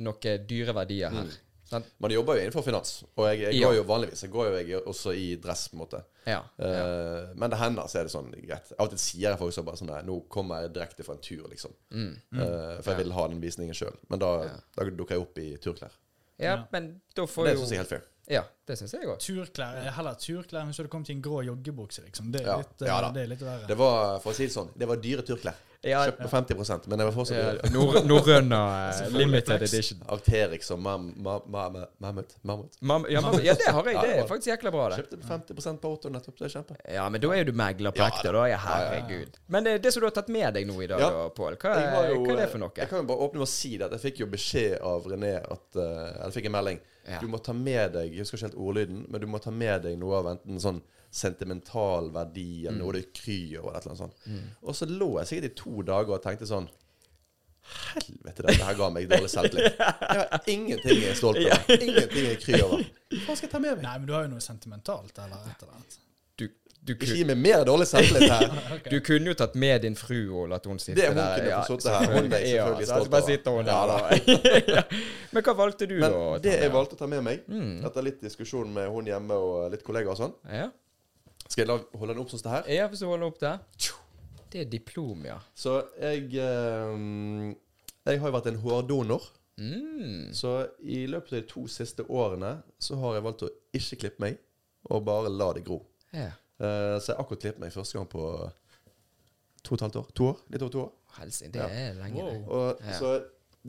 A: noen dyre verdier her. Sant?
B: Man jobber jo innenfor finans, og jeg, jeg
A: Ja.
B: går jo vanligvis Jeg går jo jeg, også i dress, på en måte.
A: Ja. ja.
B: Eh, men det hender, så er det sånn greit. Av og til sier jeg folk så bare sånn Nei, nå kommer jeg direkte fra en tur, liksom.
A: Mm.
B: Eh, for jeg vil ha den visningen sjøl. Men da, da dukker jeg opp i turklær.
A: ja, men da får
B: Det
A: jo
B: syns jeg er helt fair.
A: Ja, det syns jeg òg.
C: Turklær eh, Heller turklær enn hvis du hadde kommet i en grå joggebukse, liksom. Det er
B: Ja.
C: litt, eh,
B: Ja da.
C: det er litt verre.
B: Det var, for å si det sånn, det var dyre turklær.
A: Ja.
B: Kjøpt på 50 men det var fortsatt dyre.
A: Nor Norrøna eh, limited edition.
B: Arcterix og Mam- Ma- Ma- Ma- Mammut. Mammut.
A: Mam ja, mam ja, det har jeg. Det
B: Ja,
A: er faktisk jækla bra, det.
B: Kjøpte på 50 på Otto nettopp. Det er kjempe.
A: Ja, men da er jo du megler på
B: Ja,
A: ekte, da. Ja, herregud. Men eh, det, det som du har tatt med deg nå i dag,
B: Ja.
A: da, Pål, hva,
B: Jeg var
A: er- Eh,
B: jo,
A: hva
B: eh,
A: er det for
B: Jeg
A: noe?
B: kan jo bare åpne med å si det. at Jeg fikk jo beskjed av René at eh, Eller fikk en melding.
A: Ja.
B: Du må ta med deg Jeg husker ikke helt ordlyden, men du må ta med deg noe av enten sånn sentimental verdi
A: Mm.
B: eller noe du kryr over, eller et eller annet sånt. Og så lå jeg sikkert i to dager og tenkte sånn Helvete, dette her ga meg dårlig selvtillit. Jeg har ingenting jeg er stolt over. Ingenting jeg kryr over. Hva skal jeg ta med meg?
C: Nei, men du har jo noe sentimentalt eller et eller annet.
A: Du, du,
B: Ikke
A: kun,
B: gi meg mer dårlig selvtillit her.
A: du kunne jo tatt med din fru og latt hun sitte
B: Det er
A: der.
B: hun kunne
A: ja,
B: få sitte her. Hun er jeg
A: ja,
B: selvfølgelig
A: så
B: stolt
A: Bare
B: over.
A: sitter hun
B: Ja,
A: der, da. ja. Men hva valgte du,
B: Men
A: da?
B: det
A: Tom?
B: jeg valgte å ta med meg,
A: Mm.
B: etter litt diskusjon med hun hjemme og litt kollegaer og sånn
A: Ja,
B: Skal jeg la, holde den opp sånn som det her?
A: ja hvis du holder opp der. Det er diplom, ja.
B: Så jeg eh, Jeg har jo vært en hårdonor.
A: Mm.
B: Så i løpet av de to siste årene så har jeg valgt å ikke klippe meg, og bare la det gro.
A: Ja.
B: Eh, så jeg har akkurat klippet meg første gang på to og et halvt år. To år? Litt over to år.
A: Helsing, det er lenge, det.
B: Og,
A: Ja.
B: Så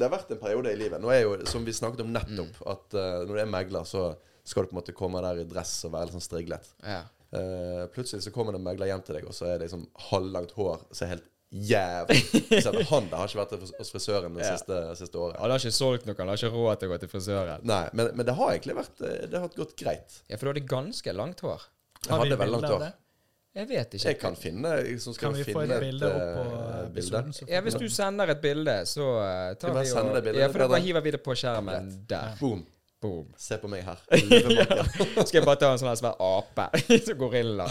B: det har vært en periode i livet. Nå er jo, Som vi snakket om nettopp,
A: Mm.
B: at eh, når du er megler, så skal du på en måte komme der i dress og være litt sånn striglet.
A: Ja.
B: Eh, plutselig så kommer det en megler hjem til deg, og så er det liksom halvlangt hår som er helt jævlig. Så at han da har ikke vært hos- hos frisøren det
A: Ja.
B: siste, siste året.
A: Han har ikke solgt noe, han har ikke råd til å gå til frisøren.
B: Nei, men, men det har egentlig vært eh, Det har gått greit.
A: Ja, for du hadde ganske langt hår.
B: Jeg
C: vi
B: hadde
C: bilder
B: veldig langt
C: av
B: hår.
C: det?
A: Jeg vet ikke.
B: Jeg kan finne så skal
C: Kan vi
B: jeg
C: få et
B: finne
C: bilde opp på
B: eh, bilde.
C: episoden? så
A: Ja,
C: får vi-
A: hvis du sender et bilde, så eh, tar
B: Skal jeg
A: vi
B: sende det
A: og
B: bildet?
A: Ja, for da
B: Det er
A: bare hiver vi det på skjermen der.
B: Boom.
A: Boom.
B: Se på meg her. Løvemanken.
A: Skal jeg bare ta en sånn her svær ape? Så gorilla.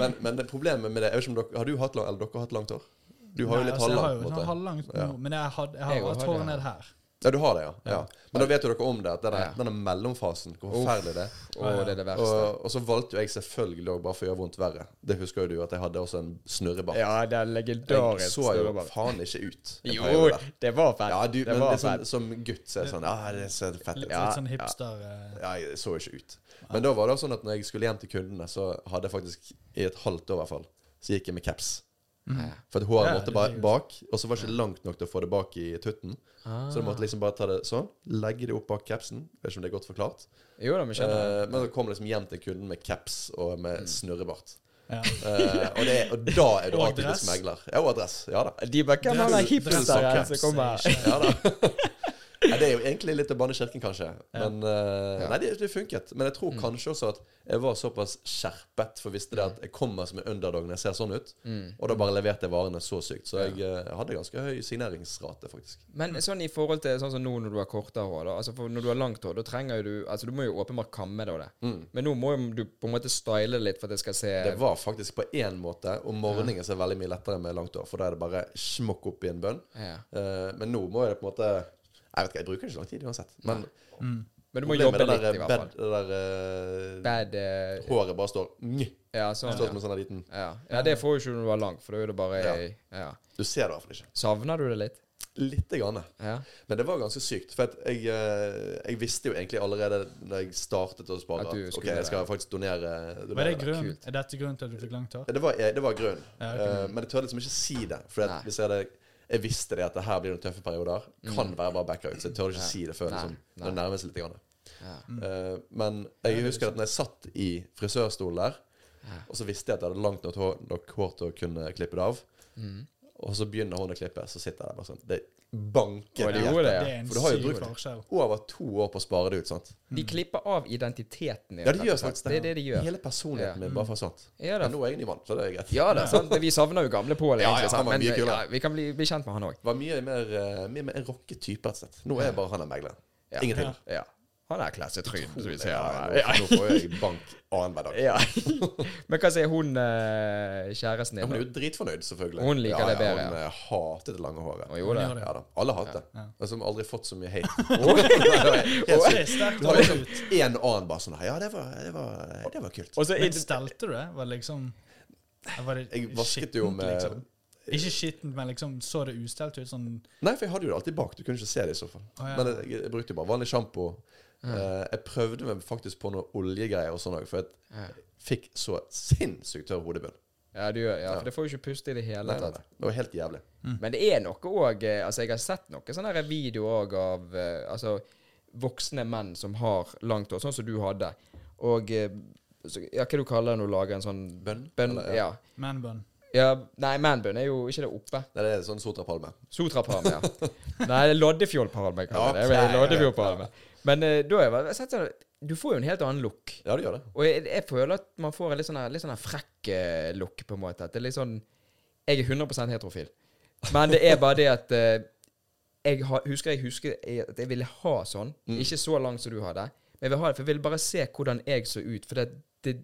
B: Men, men det problemet med det jeg vet ikke om dere, Har du hatt lang, eller dere har hatt langt hår? Du har
C: Nei,
B: jo litt
C: altså, jeg har jo
B: halvlangt. på en
C: sånn
B: måte.
C: halvlangt
B: Ja.
C: nå, men jeg har, jeg har
A: Jeg
C: hatt
A: har det,
C: håret
A: ja.
C: ned her.
B: Ja, du har det, ja. ja. Men da vet jo dere om det, at denne,
A: Ja.
B: denne mellomfasen, hvor forferdelig det er.
A: Å, det er det verste.
B: Og, og så valgte jo jeg selvfølgelig også, bare for å gjøre vondt verre Det husker jo du, at jeg hadde også en snurrebart.
A: Ja, det er
B: jeg
A: legendarisk.
B: så jo
A: snurrebart.
B: faen ikke ut. en
A: Jo,
B: periode.
A: det var fett.
B: Ja, du,
A: det
B: men det
A: var
B: er sånn,
A: fett.
B: som gutt så er det sånn Ja, det ser fett ut.
C: Litt, litt sånn
B: ja.
C: hipster eh,
B: Ja, jeg så jo ikke ut. Men da var det sånn at når jeg skulle hjem til kundene, så hadde jeg faktisk i et halvt år i hvert fall, så gikk jeg med caps. For at håret
C: Ja,
B: måtte
C: det
B: bare
C: blir jo-
B: bak, og så var det ikke langt nok til å få det bak i tutten. Så du måtte liksom bare ta det sånn, legge det opp bak capsen. Vet ikke om det er godt forklart.
A: Ah. Jo da, vi skjønner.
B: Eh, men så kom liksom hjem til kunden med caps og med snurrebart.
C: ja.
B: Eh, og, det, og da er du
C: Og
B: alltid
C: dress.
B: megler. Ja, og dress. Ja da.
A: Eh, De bare Hvem er den
C: Dress-
A: hipsteren
C: dress-
A: som kommer?
C: dress-
B: Ja, da. Ja, det er jo egentlig litt å banne i kirken, kanskje. Men eh, Nei, det, det funket. Men jeg tror kanskje også at jeg var såpass skjerpet, for visste det at jeg kommer som en underdog når jeg ser sånn ut. Og da bare leverte jeg varene så sykt. Så jeg eh, hadde ganske høy signeringsrate, faktisk.
A: Men sånn i forhold til sånn som nå når du har kortere hår, da. Altså for når du har langt hår, da trenger jo du Altså du må jo åpenbart kamme det og det. Men nå må jo du på en måte style litt for at det skal se
B: Mm. Det var faktisk på én måte, og morgenen så er det veldig mye lettere med langt hår, for da er det bare smokk opp i en bønn.
A: ja.
B: Eh, men nå må jeg det på en måte Jeg vet ikke, jeg bruker ikke så lang tid uansett. Men
C: Mm.
A: Men du må
B: problemet
A: jobbe
B: er det
A: litt,
B: der,
A: i
B: eh,
A: hvert fall.
B: bed- det der eh,
A: Bad eh,
B: Håret bare står Nj.
A: Ja, sånn.
B: Står som
A: Ja.
B: en sånn liten
A: Ja. ja, det får jo ikke når du er lang, for da er det bare ja.
B: Du ser det i hvert fall ikke.
A: Savner du det litt?
B: Lite grann.
A: Ja.
B: Men det var ganske sykt. For at jeg, eh, jeg visste jo egentlig allerede da jeg startet å spare,
A: At du
B: at ok,
A: skulle
B: jeg skal faktisk donere. donere
C: Var det
B: det.
C: grunnen? Er dette grunnen til at du fikk langt hår?
B: Ja, Det var, eh, det var grunnen.
C: Ja, ok.
B: Eh, men jeg tør liksom ikke si det. For
A: Nei. Mm.
B: at hvis jeg, hadde, jeg visste det at det her blir noen tøffe perioder. Kan være bare backa ut. Så jeg tør ikke si det før
A: Nei.
B: liksom,
A: Nei.
B: det nærmer seg litt. Grann.
A: Ja.
B: Eh, men jeg husker at når jeg satt i
A: Mm.
B: frisørstolen der, og så visste jeg at jeg hadde langt nok hår, nok hår til å kunne klippe det av. Og så begynner hun å klippe, så sitter jeg der bare sånn Det banker
A: Og
B: i
A: de
B: hjertet.
A: gjorde det, ja.
C: Det er en
B: For du har jo
C: syk
B: brukt-
C: forskjell.
B: Over to år på å spare det ut, sant?
A: De klipper av identiteten din.
B: Mm. Ja, de
A: rett
B: gjør
A: og slett.
B: faktisk
A: det. er det de gjør.
B: Hele personligheten min bare forsvant.
A: Ja da.
B: Men nå er jeg ny mann, så det er greit.
A: Ja da, sant? Vi savner jo gamle Pål,
B: Ja, ja,
A: egentlig.
B: han
A: sant?
B: var
A: Men eh,
B: mye kulere.
A: ja, vi kan bli, bli kjent med han òg.
B: Var mye mer, eh, mye mer rocketype, rett og slett. Nå er jeg bare han der megleren.
A: Ja.
B: Ingenting.
A: Ja. Han er klassetryn, som vi ser
B: Ja,
A: her.
B: nå, nå får jeg bank annenhver dag.
A: Ja. Men hva sier hun eh, kjæresten
B: Ja,
A: din?
B: hun er
A: da?
B: jo dritfornøyd, selvfølgelig.
A: Hun liker
B: ja,
A: det bedre,
B: Hun eh, hatet det lange håret.
A: Hun gjorde
C: det.
B: Ja da, Alle hater det.
C: Ja.
B: Altså, hun har aldri fått så mye hate. Helt
C: Det
B: sykt.
C: er sterkt
B: Du
C: å
B: har
C: holde
B: liksom
C: ut.
B: en annen bare sånn Ja, det var, det var, det var kult.
A: Og så
C: Men stelte du det? Var det liksom var det
B: Jeg vasket jo
C: skittent,
B: med-
C: liksom? Ikke skittent, men liksom så det ustelt ut? Sånn
B: Nei, for jeg hadde jo det alltid bak. Du kunne ikke se det i så fall.
C: Å, ja.
B: Men jeg, jeg brukte jo bare vanlig sjampo. Eh, jeg prøvde meg faktisk på noe oljegreier og sånn òg, for jeg
A: Ja.
B: fikk så sinnssykt tørr hodebunn.
A: Ja, du gjør, ja, for det får jo ikke puste i det hele
B: Nei, nei,
A: tatt.
B: nei. Det var helt jævlig.
A: Men det er noe òg Altså, jeg har sett noen sånne her videoer òg av eh, altså, voksne menn som har langt hår, sånn som du hadde. Og eh, så, Ja, hva du kaller det når du lager en sånn
B: Bønn?
A: bønn
B: Eller,
A: ja.
C: man bun.
A: ja. Nei, manbunn er jo ikke det oppe.
B: Nei, det er sånn sotrapalme.
A: Sotrapalme, ja. Nei, det er Loddefjollpalme, kaller jeg det.
B: Ja,
A: det. er Loddefjollpalme. Men eh, da har jeg sett sånn Du får jo en helt annen look.
B: Ja, det gjør det.
A: Og jeg, jeg føler at man får en litt sånn, her- litt sånn her frekk eh, look, på en måte. At det er litt sånn Jeg er 100 heterofil. Men det er bare det at eh, jeg har, husker jeg husker jeg- at jeg ville ha sånn.
B: Mm.
A: Ikke så langt som du hadde. Men jeg vil ha det, for jeg ville bare se hvordan jeg så ut. For det, det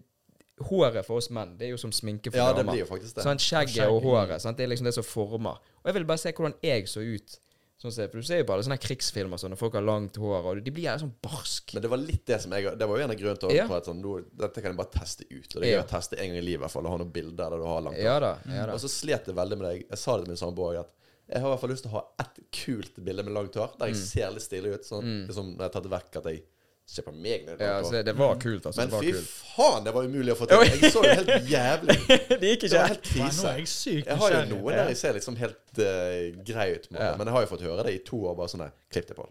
A: håret for oss menn, det er jo som sminke for
B: Ja, det
A: damer.
B: blir jo faktisk det.
A: Sånn skjegget og håret. Sant? Det er liksom det som former. Og jeg ville bare se hvordan jeg så ut. Sånn ser, for Du ser jo på alle sånne krigsfilmer sånn, og folk har langt hår, og de blir gjerne sånn barsk.
B: Men det var litt det som jeg Det var jo en av grunnene til
A: Ja.
B: å- på at sånn, nå, dette kan jeg bare teste ut. Og det er gøy
A: Ja.
B: å teste en gang i livet, i hvert fall, å ha noen bilder der du har langt
A: Ja da. ja da.
B: Og så slet jeg veldig med deg. Jeg sa det til min samboer at jeg har i hvert fall lyst til å ha ett kult bilde med langt hår, der
A: Mm.
B: jeg ser litt stilig ut. Sånn, liksom, når jeg har tatt vekk at jeg ser på meg når jeg har
A: Ja,
B: langt
A: så
B: hår.
A: det var kult, altså.
B: Men
A: det var
B: fy
A: kult.
B: faen, det var umulig å få til. Jeg så jo helt jævlig ut.
A: det gikk
B: Det var helt
C: Nei, nå
B: krise.
C: er jeg sykt
B: Jeg har jo
C: nysgjerrig.
B: noen der jeg ser liksom helt eh, grei ut, med,
A: Ja. Mm.
B: men jeg har jo fått høre det i to år. Bare sånn der, Klipp det på.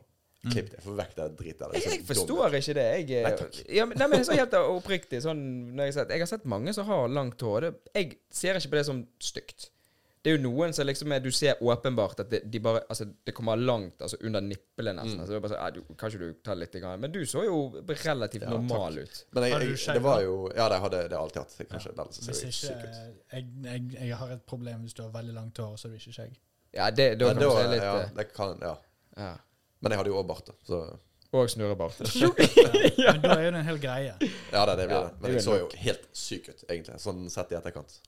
B: Klipp det. Få vekk det dritet der.
A: Jeg, jeg forstår ikke det. Jeg, eh,
B: Nei, takk.
A: ja, men, nei, men så helt oppriktig sånn, når jeg, har sett, jeg har sett mange som har langt hår. Det, jeg ser ikke på det som stygt. Det er jo noen som liksom er, Du ser åpenbart at det, de bare, altså, det kommer langt altså under nippelet, nesten. Altså, det er bare sånn, eh, du, kanskje du tar litt, grann. Men du så jo relativt normal ut.
B: Men jeg,
C: Har du
B: jeg,
C: skjegg
B: det var jo Ja, det hadde det altså har jeg alltid hatt. Kanskje den som
C: Hvis
B: ser
C: ikke
B: syk ut.
C: jeg, jeg, jeg har et problem hvis du har veldig langt hår, og så er du ikke skjegg.
A: Ja, det, da
B: Men
A: kan
B: det
A: man
B: var,
A: se litt
B: ja,
A: eh,
B: det kan, ja.
A: ja.
B: Men jeg hadde jo òg bart, da, så
A: Og snurrebart.
C: Men da er jo det en hel greie.
B: Ja, det, det blir
A: Ja,
B: det.
A: det
B: Men jeg
A: gjør
B: så jo helt syk ut, egentlig. Sånn sett i etterkant.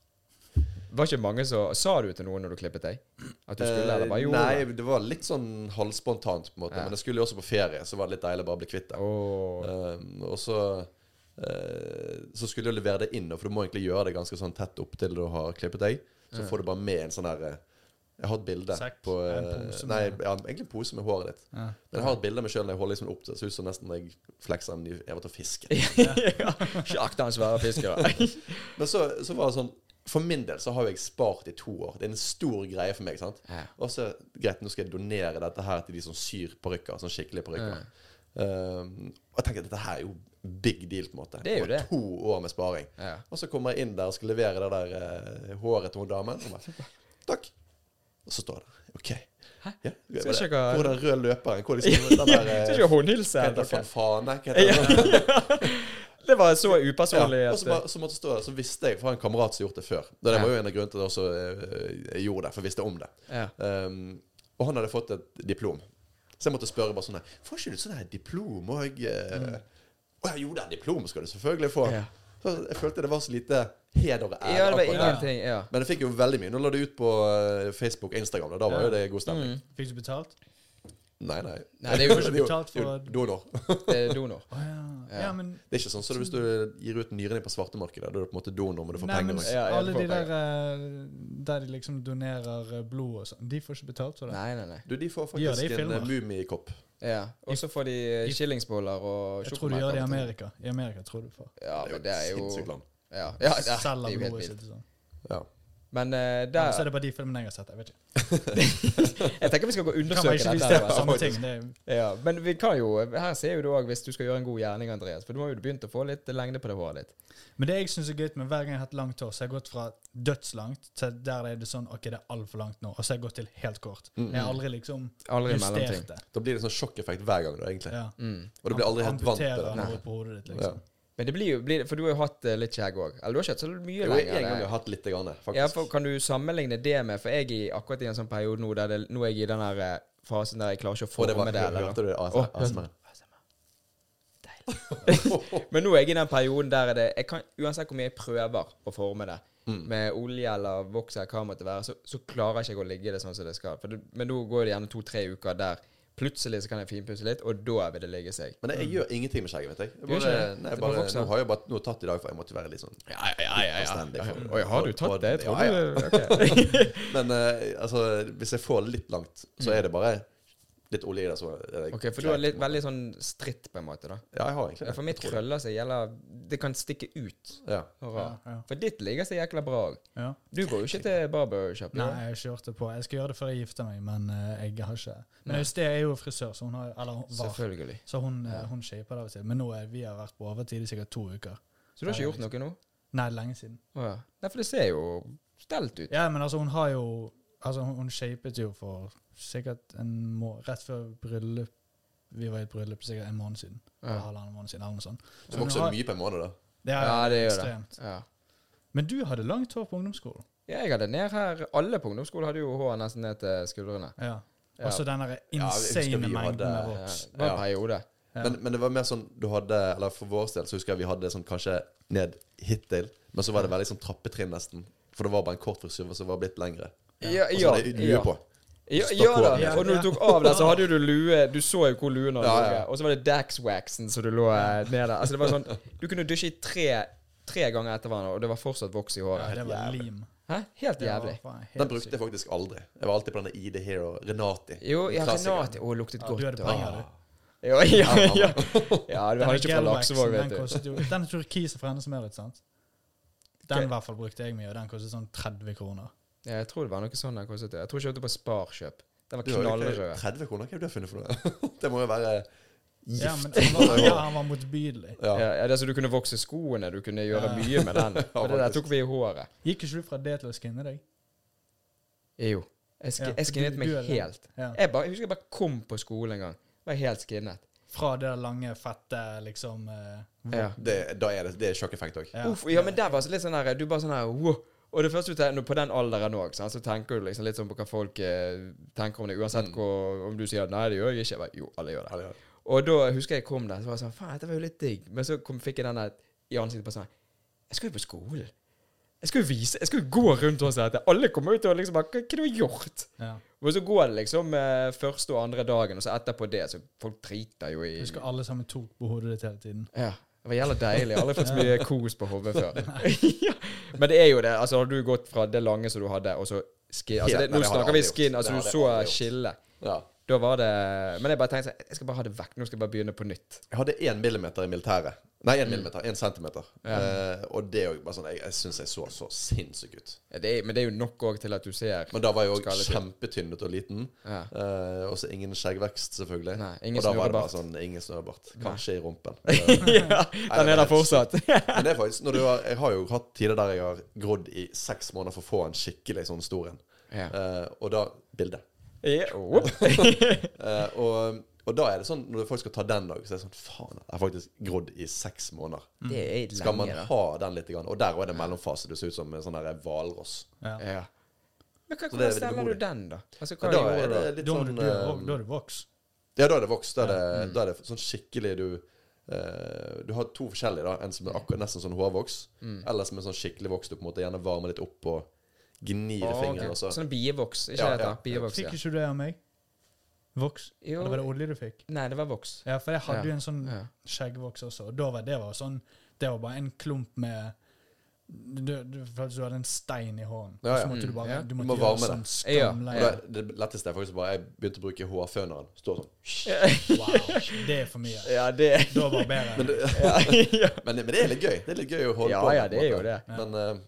A: Var ikke mange som Sa du til noen når du klippet deg? At du skulle, eller bare
B: Eh,
A: gjorde
B: Nei,
A: det?
B: det var litt sånn halvspontant, på en måte.
A: Ja.
B: Men jeg skulle jo også på ferie, så var det litt deilig å bare bli kvitt det.
A: Åh.
B: Eh, og så eh, Så skulle jeg levere det inn, da, for du må egentlig gjøre det ganske sånn tett opp til du har klippet deg. Så får du bare med en sånn der eh, Jeg har et bilde
C: Sekk.
B: på
C: Ja, en
B: eh,
C: pose med-
B: Nei, ja, egentlig en pose med håret ditt.
C: Ja.
B: Men jeg har et bilde av meg sjøl jeg holder liksom opp til det. Ser ut som nesten jeg flekser en ny Jeg var til å fiske.
A: Ikke akt han svære fiskere.
B: Men så, så var det sånn For min del så har jo jeg spart i to år. Det er en stor greie for meg. sant?
A: Ja.
B: Og så Greit, nå skal jeg donere dette her til de som syr parykker. Sånn skikkelige parykker. Um, og jeg tenker at dette her er jo big deal, på en måte.
A: Det er jo
B: Og
A: det.
B: To år med sparing.
A: Ja.
B: Og så kommer jeg inn der og skal levere det der eh, håret til hun damen. Og bare, Takk. Og så står det OK. Hæ? Ja,
A: Skal
B: jeg bare,
A: ikke jeg-
B: hvor er den røde løperen? Hvor er liksom den der eh,
A: Skal ikke
B: Hva
A: håndhilse?
B: heter det? Fanfane? Hva heter det?
A: Det var så upersonlig
B: Ja, og
A: at
B: så, bare, så måtte jeg stå der, så visste jeg fra en kamerat som gjorde det før. Det der
A: Ja.
B: var jo en av grunnene til at jeg også eh, jeg gjorde det, for jeg visste om det.
A: ja.
B: Um, og han hadde fått et diplom. Så jeg måtte spørre bare sånn her Får ikke du sånn her diplom òg? Å ja, jo da, diplom skal du selvfølgelig få.
A: Mm. Ja.
B: Så jeg følte det var så lite heder og ære.
A: ja, det var
B: akkurat der.
A: ingenting. Ja.
B: Men jeg fikk jo veldig mye. Nå la du ut på eh, Facebook og Instagram, og da var
C: Ja.
B: jo det god stemning.
C: Fikk du betalt?
B: Nei, nei.
A: Mm. Nei, det er jo
C: ikke
B: Det er jo-
C: betalt
B: det er jo
C: for-
B: Donor.
A: Det er donor.
C: Å ja. ja, men,
B: Det er ikke sånn som hvis du gir ut nyrene på svartemarkedet. Da er du på en måte donor, men du får
C: nei,
B: penger
C: men
B: òg.
A: Ja, ja, du
C: alle
A: får
C: de der eh, der de liksom donerer eh, blod og sånn, de får ikke betalt for det?
A: Nei, nei, nei.
B: Du, de får
C: Gjør det
B: faktisk
C: i
B: en
C: filmer.
B: eh, mummikopp.
A: Ja. Og så får de eh,
C: I-
A: skillingsboller og
C: Jeg tror du gjør det i
A: og ting.
C: Amerika. I Amerika tror du får.
A: Ja, men det er jo
B: sinnssykt land.
A: Ja, ja, ja, det
C: Selger
A: er jo helt
C: blodet
A: vilt.
C: sitt og sånn.
B: Ja.
A: Men eh,
C: Ja, så er
A: der
C: det bare de filmene jeg har sett. Jeg vet ikke.
A: Jeg tenker vi skal gå og
C: Kan man
A: undersøke
C: ikke
A: dette.
C: se på
A: her,
C: samme
A: altså.
C: ting? Det er,
A: Ja, men vi kan jo Her ser jo du òg hvis du skal gjøre en god gjerning, Andreas. For du har jo begynt å få litt lengde på det håret ditt.
C: men det jeg syns er gøy med hver gang jeg har hatt langt hår, så har jeg gått fra dødslangt til der er det sånn OK, det er altfor langt nå, og så har jeg gått til helt kort. Jeg har aldri liksom
A: Mm. Aldri mellomting.
C: justert det.
B: Mm, Da blir det sånn sjokkeffekt hver gang, da, egentlig.
C: Ja.
A: Mm.
B: Og du blir aldri helt vant til det.
C: Amputerer noe på hodet ditt, liksom.
A: Men det blir jo blir, For du har jo hatt eh, litt skjegg òg. Eller du har ikke hatt så mye
B: Jo, en gang har
A: lenger.
B: jeg hatt litt, grann, faktisk.
A: Ja, for Kan du sammenligne det med For jeg er i- akkurat i en sånn periode nå der det, nå er jeg i den her eh, fasen der jeg klarer ikke å
B: og det
A: forme
B: var,
A: det. eller noe.
B: hørte du det?
A: Å,
B: ASMR? ASMR.
A: Men nå er jeg i den perioden der det jeg kan, Uansett hvor mye jeg prøver å forme det,
B: Mm.
A: med olje eller voks eller hva det måtte være, så, så klarer jeg ikke å ligge det sånn som det skal. For det, men nå går det gjerne to-tre uker der plutselig så kan jeg finpusse litt, og da vil det ligge seg.
B: Men jeg, jeg gjør ingenting med skjegget, vet jeg. jeg
A: Du gjør
B: bare,
A: ikke det? Det
B: nei, jeg
A: bare
B: bare,
A: vokser.
B: nå har jeg bare noe tatt i dag, for jeg måtte være litt sånn
A: Ja, ja, ja.
B: Forstendig for-
A: Oi, har du tatt
B: for-
A: det? Jeg
B: Ja,
A: trodde
B: ja.
A: du- ok.
B: Men eh, altså, hvis jeg får litt langt, så er det bare litt olje i det. Så er det
A: OK, for du har litt, veldig sånn stritt, på en måte, da.
B: Ja, jeg har
A: Ja,
B: egentlig det.
A: for mitt krøller seg gjelder Det kan stikke ut.
B: Ja.
A: Og
C: Ja,
A: rar.
C: ja.
A: For ditt ligger seg jækla bra òg.
C: ja.
A: Du går jo ikke til barbershop.
C: Nei,
A: gjør du?
C: jeg har ikke gjort det på. Jeg skal gjøre det før jeg gifter meg, men eh, jeg har ikke Men Øystein er jo frisør, så hun har Eller hun var.
A: Selvfølgelig.
C: Så hun, eh, hun shaper det av og til. Men nå er vi har vært på overtid i sikkert to uker.
A: Så du har ikke gjort noe nå?
C: Nei, lenge siden.
A: Å ja. Nei, for det ser jo stelt ut.
C: Ja, men altså, hun har jo Altså, hun, hun shapet jo for sikkert en må Rett før bryllup Vi var i et bryllup sikkert en måned siden.
A: Ja.
C: Eller halvannen måned siden, eller noe sånt.
B: Det vokser
C: hun har-
B: mye på en måned, da.
C: Det er
A: Ja, det gjør det.
C: ekstremt.
A: Ja.
C: Men du hadde langt hår på ungdomsskolen.
A: Ja, jeg hadde ned her Alle på ungdomsskolen hadde jo hår nesten ned til skuldrene.
C: Ja.
A: Ja.
C: Og så den der
B: jeg husker
C: insane
B: vi
C: mengden
B: hadde-
C: med
A: Ja,
C: voks.
A: det var en
B: Ja.
A: periode.
C: Ja.
B: Men, men det var mer sånn du hadde Eller for vår del så husker jeg vi hadde sånn kanskje ned hittil, men så var det veldig sånn trappetrinn, nesten. For det var bare en kort frisyr, og så var det blitt lengre.
A: Ja,
B: Og så
A: ja,
B: var det lue
A: ja.
B: på.
A: Ja,
B: Stokk
A: ja da.
B: hodet.
A: Og når du tok av der, så hadde jo du lue Du så jo hvor luen hadde
B: Ja,
A: ligget.
B: ja.
A: Og så var det Dax-waxen som du lå eh, ned der. Altså, det var sånn Du kunne dusje i tre, tre ganger etter hverandre, og det var fortsatt voks i
C: Ja,
A: håret.
C: det var lim.
A: Hæ? Helt
C: Det var
A: jævlig.
C: faen helt
B: Den brukte
C: sykt.
B: jeg faktisk aldri. Jeg var alltid på denne ID Hero Renati.
A: Jo, ja,
B: Klassikeren.
A: Renate Å, luktet
C: Ja,
A: godt.
C: du hadde
A: og-
C: penger, du.
A: Ja, ja, ja. ja du
C: Den
A: har ikke fra
C: Gelwaxen,
A: Laksevåg, vet
C: den
A: du.
C: kostet jo Den turkise fra Hennesmøret, sant? Den
A: Ok.
C: i hvert fall brukte jeg mye, og den kostet sånn 30 kroner.
A: Ja, jeg tror det var noe sånn den kostet. Jeg tror jeg kjøpte på Sparkjøp. Den var
B: Du har jo ikke
A: knallrød.
B: 30 kroner, hva har du funnet for noe? Det må jo være gift.
C: Ja, men han var, ja, han var motbydelig.
B: Ja.
A: Ja, ja, det er så Du kunne vokse skoene, du kunne gjøre
C: Ja.
A: mye med den. Og det der
B: faktisk.
A: tok vi i håret.
C: Gikk ikke du fra det til å skinne deg?
A: Jo. Jeg, sk
C: Ja,
A: jeg skinnet
C: du-
A: meg
C: du er den.
A: helt.
C: Ja.
A: Jeg, bare, jeg husker jeg bare kom på skolen en gang. Var helt skinnet.
C: Fra det der lange, fette liksom eh,
A: Ja.
B: Det, da er det, det er sjokkeffekt òg.
C: ja.
A: Uff, ja, men der var det litt sånn her Du bare sånn her wow. Og det første du tenker På den alderen òg, så tenker du liksom litt sånn på hva folk eh, tenker om det,
C: Mm.
A: uansett hvor, om du sier nei, det gjør jeg ikke. Jeg bare, jo, alle gjør det.
B: Ja, det er det.
A: Og da husker jeg kom der, så var jeg sånn Faen, dette var jo litt digg. Men så kom, fikk jeg den der i ansiktet på sånn Jeg skal jo på skolen. Jeg skal jo vise Jeg skal jo gå rundt og se dette. Alle kommer ut og liksom bare Hva hva har du gjort?
C: ja.
A: Og så går det liksom eh, første og andre dagen, og så etterpå det, så folk driter jo i
C: Jeg husker alle sammen tok på hodet ditt hele tiden.
A: ja. Det var jævla deilig. Jeg har aldri fått så mye kos på hodet før. ja. Men det er jo det. Altså, har du gått fra det lange som du hadde, og så skin altså,
B: Helt,
A: det,
B: nei,
A: Nå
B: det har jeg
A: snakker vi
B: aldri
A: skin.
B: gjort.
A: Altså, du
B: Det har jeg
A: så
B: aldri gjort.
A: skillet.
B: Ja.
A: Da var det Men jeg bare tenkte sånn Jeg skal bare ha det vekk. Nå skal jeg bare begynne på nytt.
B: Jeg hadde én millimeter i militæret. Nei,
A: Mm.
B: én millimeter. Én centimeter. Eh, og det òg bare sånn Jeg, jeg syns jeg så så sinnssyk ut.
A: Ja, det er, men det er jo nok òg til at du ser
B: Men da var jeg òg
A: Skallet.
B: kjempetynnet og liten.
A: ja.
B: Eh, og så ingen skjeggvekst, selvfølgelig.
A: Nei, ingen
B: og da var det
A: snurrebart.
B: bare sånn ingen snørrebart. Kanskje i rumpen. Eh,
A: ja, Den er der fortsatt.
B: Men det er faktisk når du har, Jeg har jo hatt tider der jeg har grodd i seks måneder for å få en skikkelig sånn stor en.
A: Ja.
B: Eh, og da Bilde.
A: Ja,
B: Mm.
A: whoop.
B: Eh, og, og da er det sånn, når folk skal ta den dag, så er det sånn Faen, jeg har faktisk grodd i seks måneder.
A: Det er
B: Skal man
A: lenge, da.
B: ha den litt? Grann? Og der òg er det mellomfase. Du ser ut som en sånn der hvalross.
C: Ja.
A: Ja. Men hva,
B: Så det
A: hvordan
B: er
A: steller du
B: vemodig.
A: den, da? Altså, hva
B: Men Da er
A: gjorde
B: det
A: du?
B: litt
C: Da må du
B: sånn
C: dø, og
B: eh,
C: da er du voks.
B: Ja, da er det vokst. Da er det, da er det sånn skikkelig du eh, Du har to forskjellige. da En som er akkurat nesten sånn hårvoks, eller som er sånn skikkelig voks du på en måte gjerne varmer litt opp og gnir i
A: Å, ok.
B: fingeren. og så-
A: Sånn bievoks, ikke
B: altså. Ja,
A: det?
B: ja.
A: heter? Bievoks,
C: Fikk
A: ja.
C: ikke du det av meg? Voks?
A: Jo.
C: Eller var det olje du fikk?
A: Nei, det var voks.
C: Ja, for jeg hadde
A: Ja.
C: jo en sånn
A: Ja.
C: skjeggvoks også, og da var det var sånn Det var bare en klump med du, du, for du hadde en stein i hånden,
B: Ja,
C: og så
B: ja.
C: måtte du bare
A: Ja.
C: Du
B: må
C: måtte
B: varme
C: gjøre
B: det.
C: sånn
A: Ja,
B: Og
C: skamleie.
B: da, det letteste er faktisk bare Jeg begynte å bruke hårføneren. Står sånn.
C: Wow, det er for mye.
A: Ja, det
C: Da barberer jeg.
B: Men, det-
A: ja, ja.
B: men, det- men det er litt gøy. Det er litt gøy å holde
A: Ja,
B: på med,
A: ja,
B: på en
A: det er jo
B: måte.
A: det.
B: Men eh,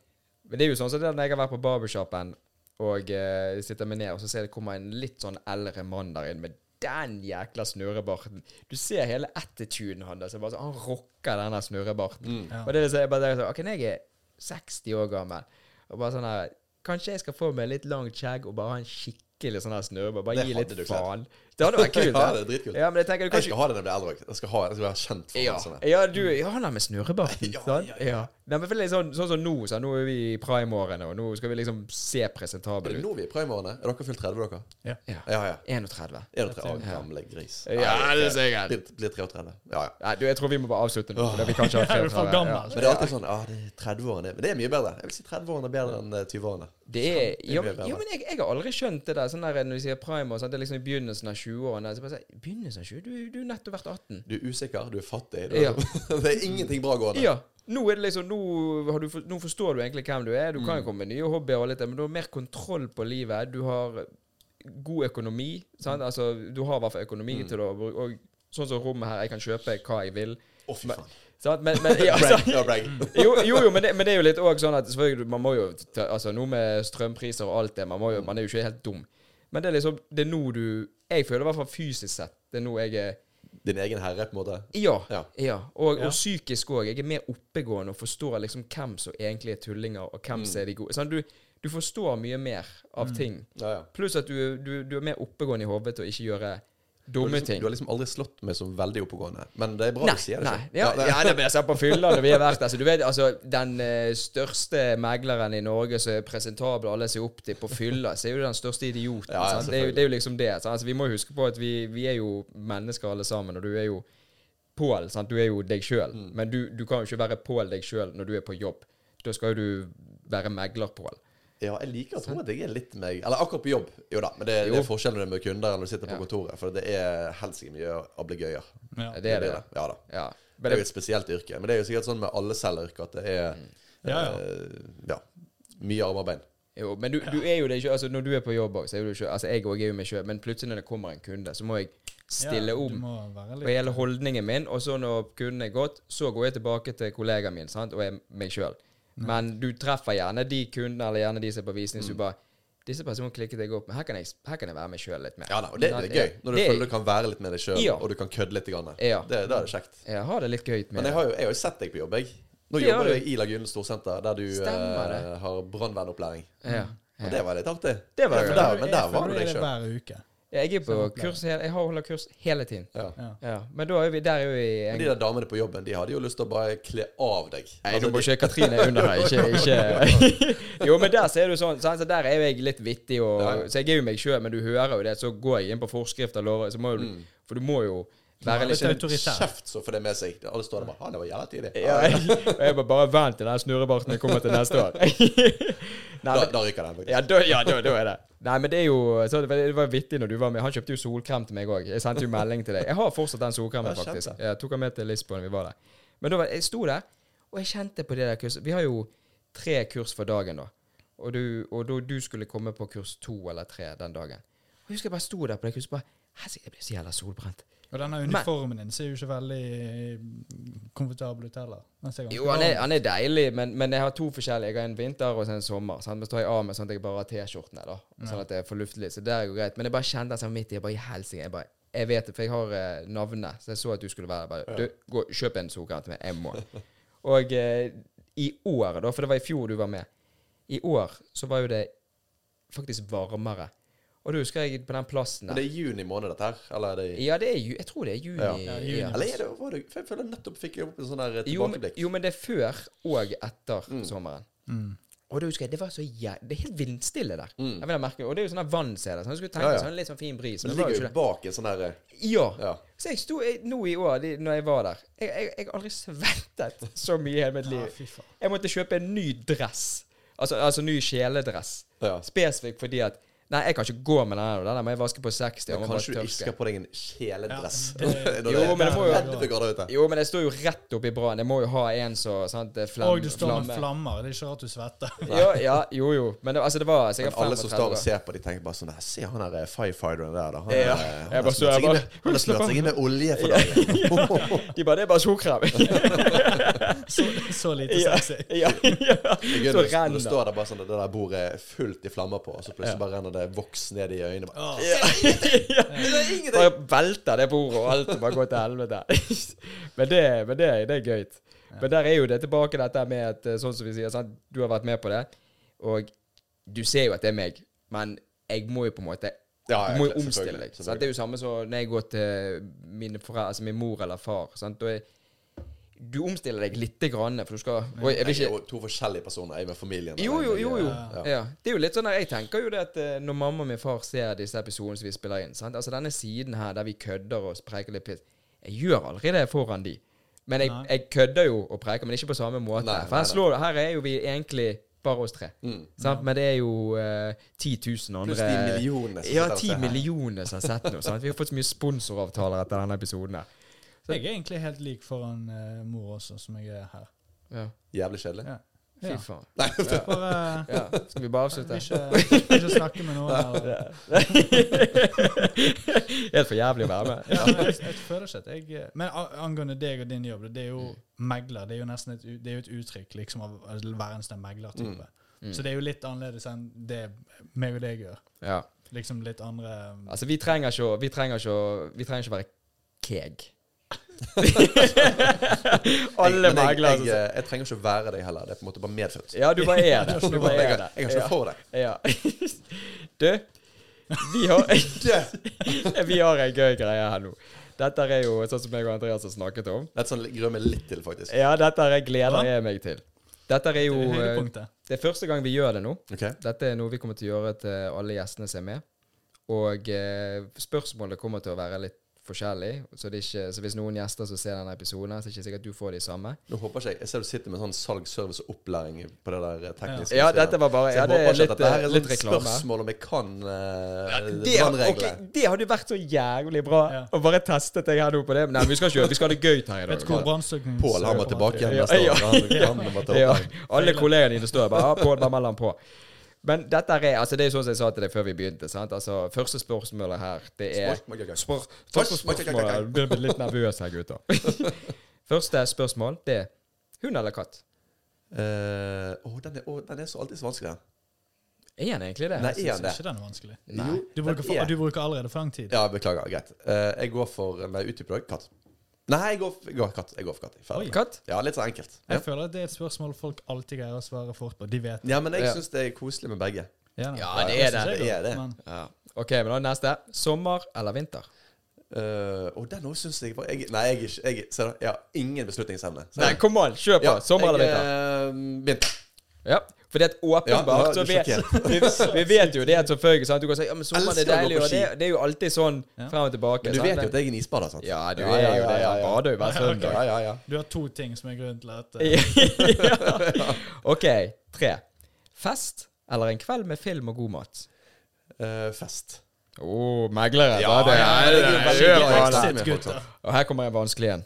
A: Men det er jo sånn som det er når jeg har vært på barbershopen og eh, sitter meg ned, og så ser jeg det kommer en litt sånn eldre mann der inn med den jækla snurrebarten. Du ser hele attituden hans. det er bare sånn, Han rocker denne snurrebarten.
B: Mm.
C: Ja.
A: Og det er så jeg bare der, sånn, Ok, når jeg er 60 år gammel, og bare sånn her Kanskje jeg skal få meg litt langt skjegg og bare ha en skikkelig sånn her snurrebart. Bare
B: Det
A: gi
B: hadde
A: litt
B: du kledd.
A: faen. Det hadde vært kult.
B: Ja, det er dritkult.
A: Ja, men jeg tenker du
B: Jeg
A: kanskje
B: skal ha det når jeg blir eldre òg. Jeg skal ha jeg skal være kjent for
A: ja.
B: den sånn her.
A: ja, du, ja, han er med snurrebarten.
B: Ja,
A: sant?
B: ja,
A: ja,
B: ja.
A: Nei, men for det er sånn, sånn som nå, så nå er vi i prime-årene, og nå skal vi liksom se
B: Er
A: presentable
B: det
A: ut.
B: nå vi er i primeårene? Er dere fylt 30, dere?
C: Ja.
A: Ja.
B: Ja, ja.
A: 31.
B: Er dere tre år gamle gris?
A: Ja, det ser jeg.
B: Blir, blir 33. Ja, ja.
A: Nei, du, jeg tror vi må bare avslutte nå. for det vi kan ikke ha
C: Er du for
A: 33,
C: gammel?
B: Men det er alltid sånn ah, det er 30-årene. Men det er mye bedre. Jeg vil si 30-årene er bedre enn eh, 20-årene.
A: Ja. Det er, ja, men,
B: mye bedre.
A: ja, men jeg, jeg har aldri skjønt det der. Sånn der når vi sier prime og sånn, det er liksom i begynnelsen av 20-årene. Så bare sier, Begynnelsen av 20? Du, du har nettopp vært 18.
B: Du er usikker, du er fattig. Du,
A: Ja.
B: det er ingenting bra gående.
A: Ja. Nå, er det liksom, nå, har du, for- nå forstår du egentlig hvem du er. Du kan jo komme med nye hobbyer, og litt, men du har mer kontroll på livet. Du har god økonomi. Sant? Altså, du har i hvert fall økonomi til å bruke og, Sånn som rommet her, jeg kan kjøpe hva jeg vil.
B: Å, fy faen.
A: Sant? Men, men, ja,
B: Brag.
A: sant?
B: Ja, brag.
A: Jo, jo, jo men, det, men det er jo litt òg sånn at selvfølgelig, man må jo ta, Altså, noe med strømpriser og alt det, man, må jo, man er jo ikke helt dum. Men det er liksom Det er nå du Jeg føler i hvert fall fysisk sett Det er nå jeg er
B: Din egen herre, på en måte.
A: ja.
B: Ja.
A: ja. Og,
C: Ja.
A: og psykisk òg. Jeg er mer oppegående og forstår liksom hvem som egentlig er tullinger, og
B: Mm.
A: hvem som er de gode. Sånn, du, du forstår mye mer av ting.
B: Ja, ja.
A: Pluss at du, du, du er mer oppegående i hodet til å ikke gjøre
B: Du har,
A: dumme
B: liksom,
A: ting.
B: du har liksom aldri slått meg som veldig oppegående, men det er bra
A: Nei,
B: du sier det.
A: nei.
B: selv.
A: Ja, ja, det ble sett på fylla når vi har vært der. Så du vet, altså, den eh, største megleren i Norge som er presentabel og alle ser opp til på fylla, så er jo den største idioten.
B: Ja,
A: sant?
B: ja,
A: Det, er
B: selvfølgelig.
A: jo, det er jo liksom det. Sant? Altså, vi må huske på at vi, vi er jo mennesker alle sammen, og du er jo Pål, sant? du er jo deg sjøl,
B: Mm.
A: men du, du kan jo ikke være Pål deg sjøl når du er på jobb. Da skal jo du være megler-Pål.
B: Ja, jeg liker å tro at jeg er litt meg Eller akkurat på jobb, jo da. Men det,
A: Jo.
B: det er forskjellen med kunder enn når du sitter på
A: Ja.
B: kontoret, for det er helsike mye ablegøyer.
C: Ja.
A: Det er det.
B: Ja da.
A: Ja.
B: Det
A: Men
B: er
A: det,
B: jo
A: Mm.
B: et spesielt yrke. Men det er jo sikkert sånn med alle selgeryrker at det er
C: Ja, ja.
B: eh, ja, mye armer og bein.
A: jo, men du, du er jo det ikke altså, Når du er på jobb òg, så er du ikke Altså, jeg òg er jo meg sjøl, men plutselig når det kommer en kunde, så må jeg stille
C: Ja,
A: om.
C: Du må være
A: på
C: litt
A: hele holdningen min, og så når kunden er gått, så går jeg tilbake til kollegaen min sant? og er meg sjøl. Men du treffer gjerne de kundene eller gjerne de som er på visning,
B: Mm.
A: så du bare disse personene klikket jeg opp med. Her kan jeg, her kan jeg være meg sjøl litt mer.
B: Ja da, og det, det er gøy. Når du
A: Det-
B: føler du kan være litt med deg sjøl,
A: Ja.
B: og du kan kødde litt. Grann.
A: Ja.
B: Det, da er det kjekt.
A: Jeg har det litt gøy med
B: Men
A: det.
B: jeg har jo, jeg har jo sett deg på jobb, jeg. Nå
A: Det har
B: jobber
A: du.
B: jeg i Lagunen Storsenter, der du
A: Stemmer det.
B: eh, har brannvernopplæring.
A: Ja.
B: Og det var litt artig.
A: Det var
B: ja,
A: gøy.
B: for der, men der var
C: du
B: du deg sjøl.
C: Hver uke.
A: Jeg er på
C: Samme plan.
A: kurs, he- jeg har holder kurs hele tiden.
B: Ja.
C: Ja.
A: Ja. Men da er vi der er vi i
B: Men
A: en
B: de der damene på jobben, de hadde jo lyst til å bare kle av deg.
A: Nei,
B: Altså,
A: nå må
B: de-
A: ikke Katrine under her. Ikke, ikke. Jo, men der ser du sånn, sant, så der er jo jeg litt vittig, og,
B: Ja, ja.
A: så jeg er jo meg sjøl, men du hører jo det. Så går jeg inn på forskrifter, lover, så må jo, for du må jo være
C: Være
A: litt
C: litt autoritær.
B: sånn Kjeft så får det med seg. Alle står der bare Han, det var jævla tidlig.
A: ja, jeg, jeg bare, bare vent til den snurrebarten jeg kommer til neste år. Nei,
B: Da,
A: men,
B: da ryker den. faktisk.
A: ja, da, ja da, da er det. Nei, men det er jo så Det var- det var vittig når du var med. Han kjøpte jo solkrem til meg òg. Jeg sendte jo melding til deg. Jeg har fortsatt den solkremen,
B: Ja,
A: faktisk.
B: kjempe.
A: Jeg tok den med til Lisboa når vi var der. Men da var, jeg sto der, og jeg kjente på det der kurset Vi har jo tre kurs for dagen, da. Og du, og da, du skulle komme på kurs to eller tre den dagen. Og jeg husker jeg bare sto der på det kurset bare Helsike, jeg blir så jævla solbrent.
C: Og denne uniformen din ser jo ikke veldig eh, komfortabel ut heller. Den ser ganske
A: Jo, han er,
C: varm ut.
A: han er deilig, men, men jeg har to forskjellige. Jeg har en vinter og så en sommer. Sant? Men så tar jeg av meg sånn at jeg bare har T-skjortene, da. Sånn at det er fornuftig. litt. Så det går greit. Men jeg bare kjente sånn midt i jeg bare i helsike. Jeg bare Jeg vet det, for jeg har eh, navnet. Så jeg så at du skulle være der. Bare Du, gå, kjøp en solkrem til meg. Jeg må. Og eh, i år, da, for det var i fjor du var med I år så var jo det faktisk varmere. Og da husker jeg på den plassen
B: Men det
A: der
B: er juni måned, dette her? Eller er det
A: Ja, det er ju... Jeg tror det er juni.
B: Ja.
C: Ja, juni.
B: Eller er det, var det For jeg føler jeg nettopp fikk opp en sånn der
A: Jo, men-
B: tilbakeblikk.
A: jo, men det er før og etter
B: Mm.
A: sommeren.
C: Mm.
A: Og da husker jeg, Det var så jæ... Det er helt vindstille der. Jeg vil ha merket- og det er jo sånn der vann ser der. Så jeg skulle tenke
B: Mm. Ja, ja.
A: sånn litt sånn fin bris.
B: Men
A: Men det var
B: det
A: jo
B: ligger
A: ikke
B: jo
A: det.
B: bak en sånn der
A: Ja.
B: Ja.
A: Så jeg sto jeg, nå i år, de, når jeg var der Jeg har jeg, jeg har aldri svettet så mye i hele mitt
C: Ja,
A: liv.
C: fy faen.
A: Jeg måtte kjøpe en ny dress. Altså, altså ny kjeledress.
B: Ja.
A: Spesifikt fordi at Nei, jeg kan ikke gå med den her, og den her må jeg vaske på 60. og må bare
B: Kanskje du ikke
A: tørke.
B: skal på deg en kjeledress.
C: Ja, det-
B: Når
A: Jo,
B: er
A: men det må jo-
B: redd for garder ute.
A: Jo, men det står jo rett oppi brannen. Jeg må jo ha en så sant, det er flem,
C: Og du står
A: flamme.
C: med flammer. Det er ikke rart du svetter.
A: Jo, ja, jo, jo. Men det, altså, det var sikkert
B: Men alle som står
A: 35
B: og ser på, de tenker bare sånn "Nei, Se han der firefighteren der, da. Han,
A: Ja.
B: eh,
A: Jeg
B: han
A: bare
B: har
A: så-
B: smurt
A: jeg
B: seg inn
A: bare-
B: med- han har smurt seg inn med olje for dagen.
A: De bare 'Det er bare solkrem'.
C: Så, så lite
A: ja,
C: sexy.
A: ja, ja.
B: Det er gøy
A: Så
B: når du- når
A: renner
B: du står der bare sånn Det der bordet er fullt i flammer på, og så plutselig bare renner det voks ned i øynene. Bare,
C: Åh.
A: Ja. Bare velter det bordet, og alt bare går til helvete. men det, men det, det er gøy. Men der er jo det tilbake dette med at eh, sånn som vi sier, sant? du har vært med på det, og du ser jo at det er meg, men jeg må jo på en måte
B: Ja, ja,
A: du må jo
B: selvfølgelig,
A: omstille deg. Sant?
B: selvfølgelig.
A: Det er jo samme som når jeg går til mine foreldre, altså min mor eller far. Sant? Da er- du omstiller deg lite grann, for du skal Oi, jeg vil
B: Jeg
A: ikke
B: er jo to forskjellige personer. Jeg med familien.
A: jo, jo, jo. jo.
B: Ja.
A: Ja. Det er jo litt sånn der, Jeg tenker jo det at eh, når mamma og min far ser disse episodene som vi spiller inn sant? Altså Denne siden her der vi kødder og preker litt piss Jeg gjør aldri det foran de. Men jeg,
C: Nei.
A: jeg kødder jo og preker, men ikke på samme måte.
B: Nei,
A: For
B: nei, Mm.
A: her, slår, her er jo vi egentlig bare oss tre. Sant? Men det er jo eh, 10 000 andre
B: Pluss de millionene som
A: Ja,
B: sitter og ser
A: 10
B: her.
A: millioner som har sett noe. Sant? Vi har fått så mye sponsoravtaler etter denne episoden her.
C: Jeg er egentlig helt lik foran eh, mor også, som jeg er her.
A: Ja.
B: Jævlig kjedelig.
C: Ja.
A: Fy
C: Ja. eh,
A: faen.
C: Bare
A: Ja. Skal vi bare
C: vil
A: avslutte?
C: ikke, vil ikke snakke med noen. Eller.
A: Helt for jævlig å være med.
C: Ja, men jeg, jeg føler ikke at jeg eh, Men a- angående deg og din jobb, det er jo
B: Mm.
C: megler. Det er jo nesten et, u- det er jo et uttrykk liksom, av å være en sånn
B: Mm.
C: meglertype. Så det er jo litt annerledes enn det meg og deg gjør.
A: Ja.
C: Liksom litt andre
A: Altså, vi trenger ikke å Vi trenger ikke å Vi trenger ikke å være keg. Alle
B: Jeg- men jeg,
A: megler
B: jeg,
A: som
B: jeg, jeg trenger ikke å være deg heller. Det er på en måte bare medfødt.
A: Ja, du bare er det. Du
B: Jeg,
A: bare er
B: har-
A: det.
B: jeg har ikke noe for deg.
A: Ja. Du, vi har Vi har en gøy greie her nå. Dette er jo sånn som jeg og Andreas har snakket om.
B: Dette sånn, gruer meg litt til, faktisk.
A: Ja, dette er gleder jeg meg til. Dette er jo
C: Det er
A: eh,
C: høydepunktet.
A: Det er første gang vi gjør det nå.
B: Ok?
A: Dette er noe vi kommer til å gjøre til alle gjestene som er med. Og eh, spørsmålene kommer til å være litt forskjellige. Så, det er ikke, så hvis noen gjester som ser denne episoden, her, så er det ikke sikkert at du får de samme.
B: Nå håper ikke jeg Jeg ser du sitter med sånn salg, service og opplæring på det der eh, tekniske.
A: Ja,
B: systemet.
A: dette var bare
B: Så jeg
A: ja, det
B: håper
A: er
B: ikke
A: litt, eh,
B: at dette her er
A: litt
B: sånn
A: reklame.
B: spørsmål om jeg kan uh,
A: Det, ok, det hadde jo vært så jævlig bra
C: Ja.
A: å bare teste deg her nå på det. Men Nei, vi skal ikke gjøre Vi skal ha det gøy her i
C: Vet
A: dag.
C: du hvor brannslukning
B: Pål han må tilbake igjen
A: Ja,
B: neste
A: ja.
B: år. Han, han må ta
A: Ja,
B: opplæring.
A: alle kollegene dine står bare ah, på, bare meld han på. Men dette er altså det er jo sånn som jeg sa til deg før vi begynte. sant? Altså, Første spørsmålet her, det er Spør, første spørsmål Jeg blir litt nervøs her, gutter. første spørsmål, det er hund eller katt?
B: Eh, å, den, er, å, den er så alltid så vanskelig, den.
A: Er han egentlig det?
B: Nei,
C: Jeg
B: er han det?
C: syns ikke den er vanskelig.
A: Nei.
B: Jo,
C: Du bruker,
B: den
C: for,
B: er-
C: du bruker allerede for lang tid.
B: Ja, beklager. Greit. Eh, jeg går for Nei, utdyp deg. Katt. Nei, jeg går, for- jeg går for katt. Jeg går for katt. Ferdig.
A: Katt?
B: Ja, litt sånn enkelt. Ja,
C: Jeg føler at det er et spørsmål folk alltid greier å svare fort på. De vet
B: ja men jeg
A: Ja.
B: syns det er koselig med begge.
C: nei.
A: Ja,
B: det
A: er
C: synes
B: det.
C: jeg
B: Det er
C: godt,
B: det.
C: men-
A: Ja. OK, men da er neste. Sommer eller vinter?
B: Eh, og den òg syns jeg var jeg, Nei, jeg, er ikke- jeg, ser du, jeg har ingen beslutningsevne. Så-
A: Nei, kom an, kjør på!
B: ja,
A: Sommer eller
B: jeg,
A: vinter?
B: eh, vinter.
A: Ja, for det er
B: Ja,
A: åpenbart
B: ja,
A: så
B: du
A: vi, vi, vi vet jo det er selvfølgelig sant? Du kan si ja, men sommeren
B: Elsker
A: er
B: å gå
A: deilig,
B: på
A: og det,
B: ski.
A: det er jo alltid sånn
C: Ja.
A: frem og tilbake.
B: Men du
A: sant?
B: vet jo at jeg er en isbader, sant?
A: Ja, du
B: Ja,
A: er
B: ja,
A: jo det.
B: ja,
A: Han
B: ja.
A: bader jo hver søndag.
B: ja, ja, ja.
C: Du har to ting som er grunnen til at eh,
A: ja. OK. Tre. Fest eller en kveld med film og god mat?
B: Eh, fest.
A: Å, oh, meglere. Ja, det
B: ja,
A: er
B: det er jo veldig
A: Kjør
B: gøy.
A: på det.
B: Nei,
C: Shit,
B: men
C: gutter.
A: Og her kommer en vanskelig en.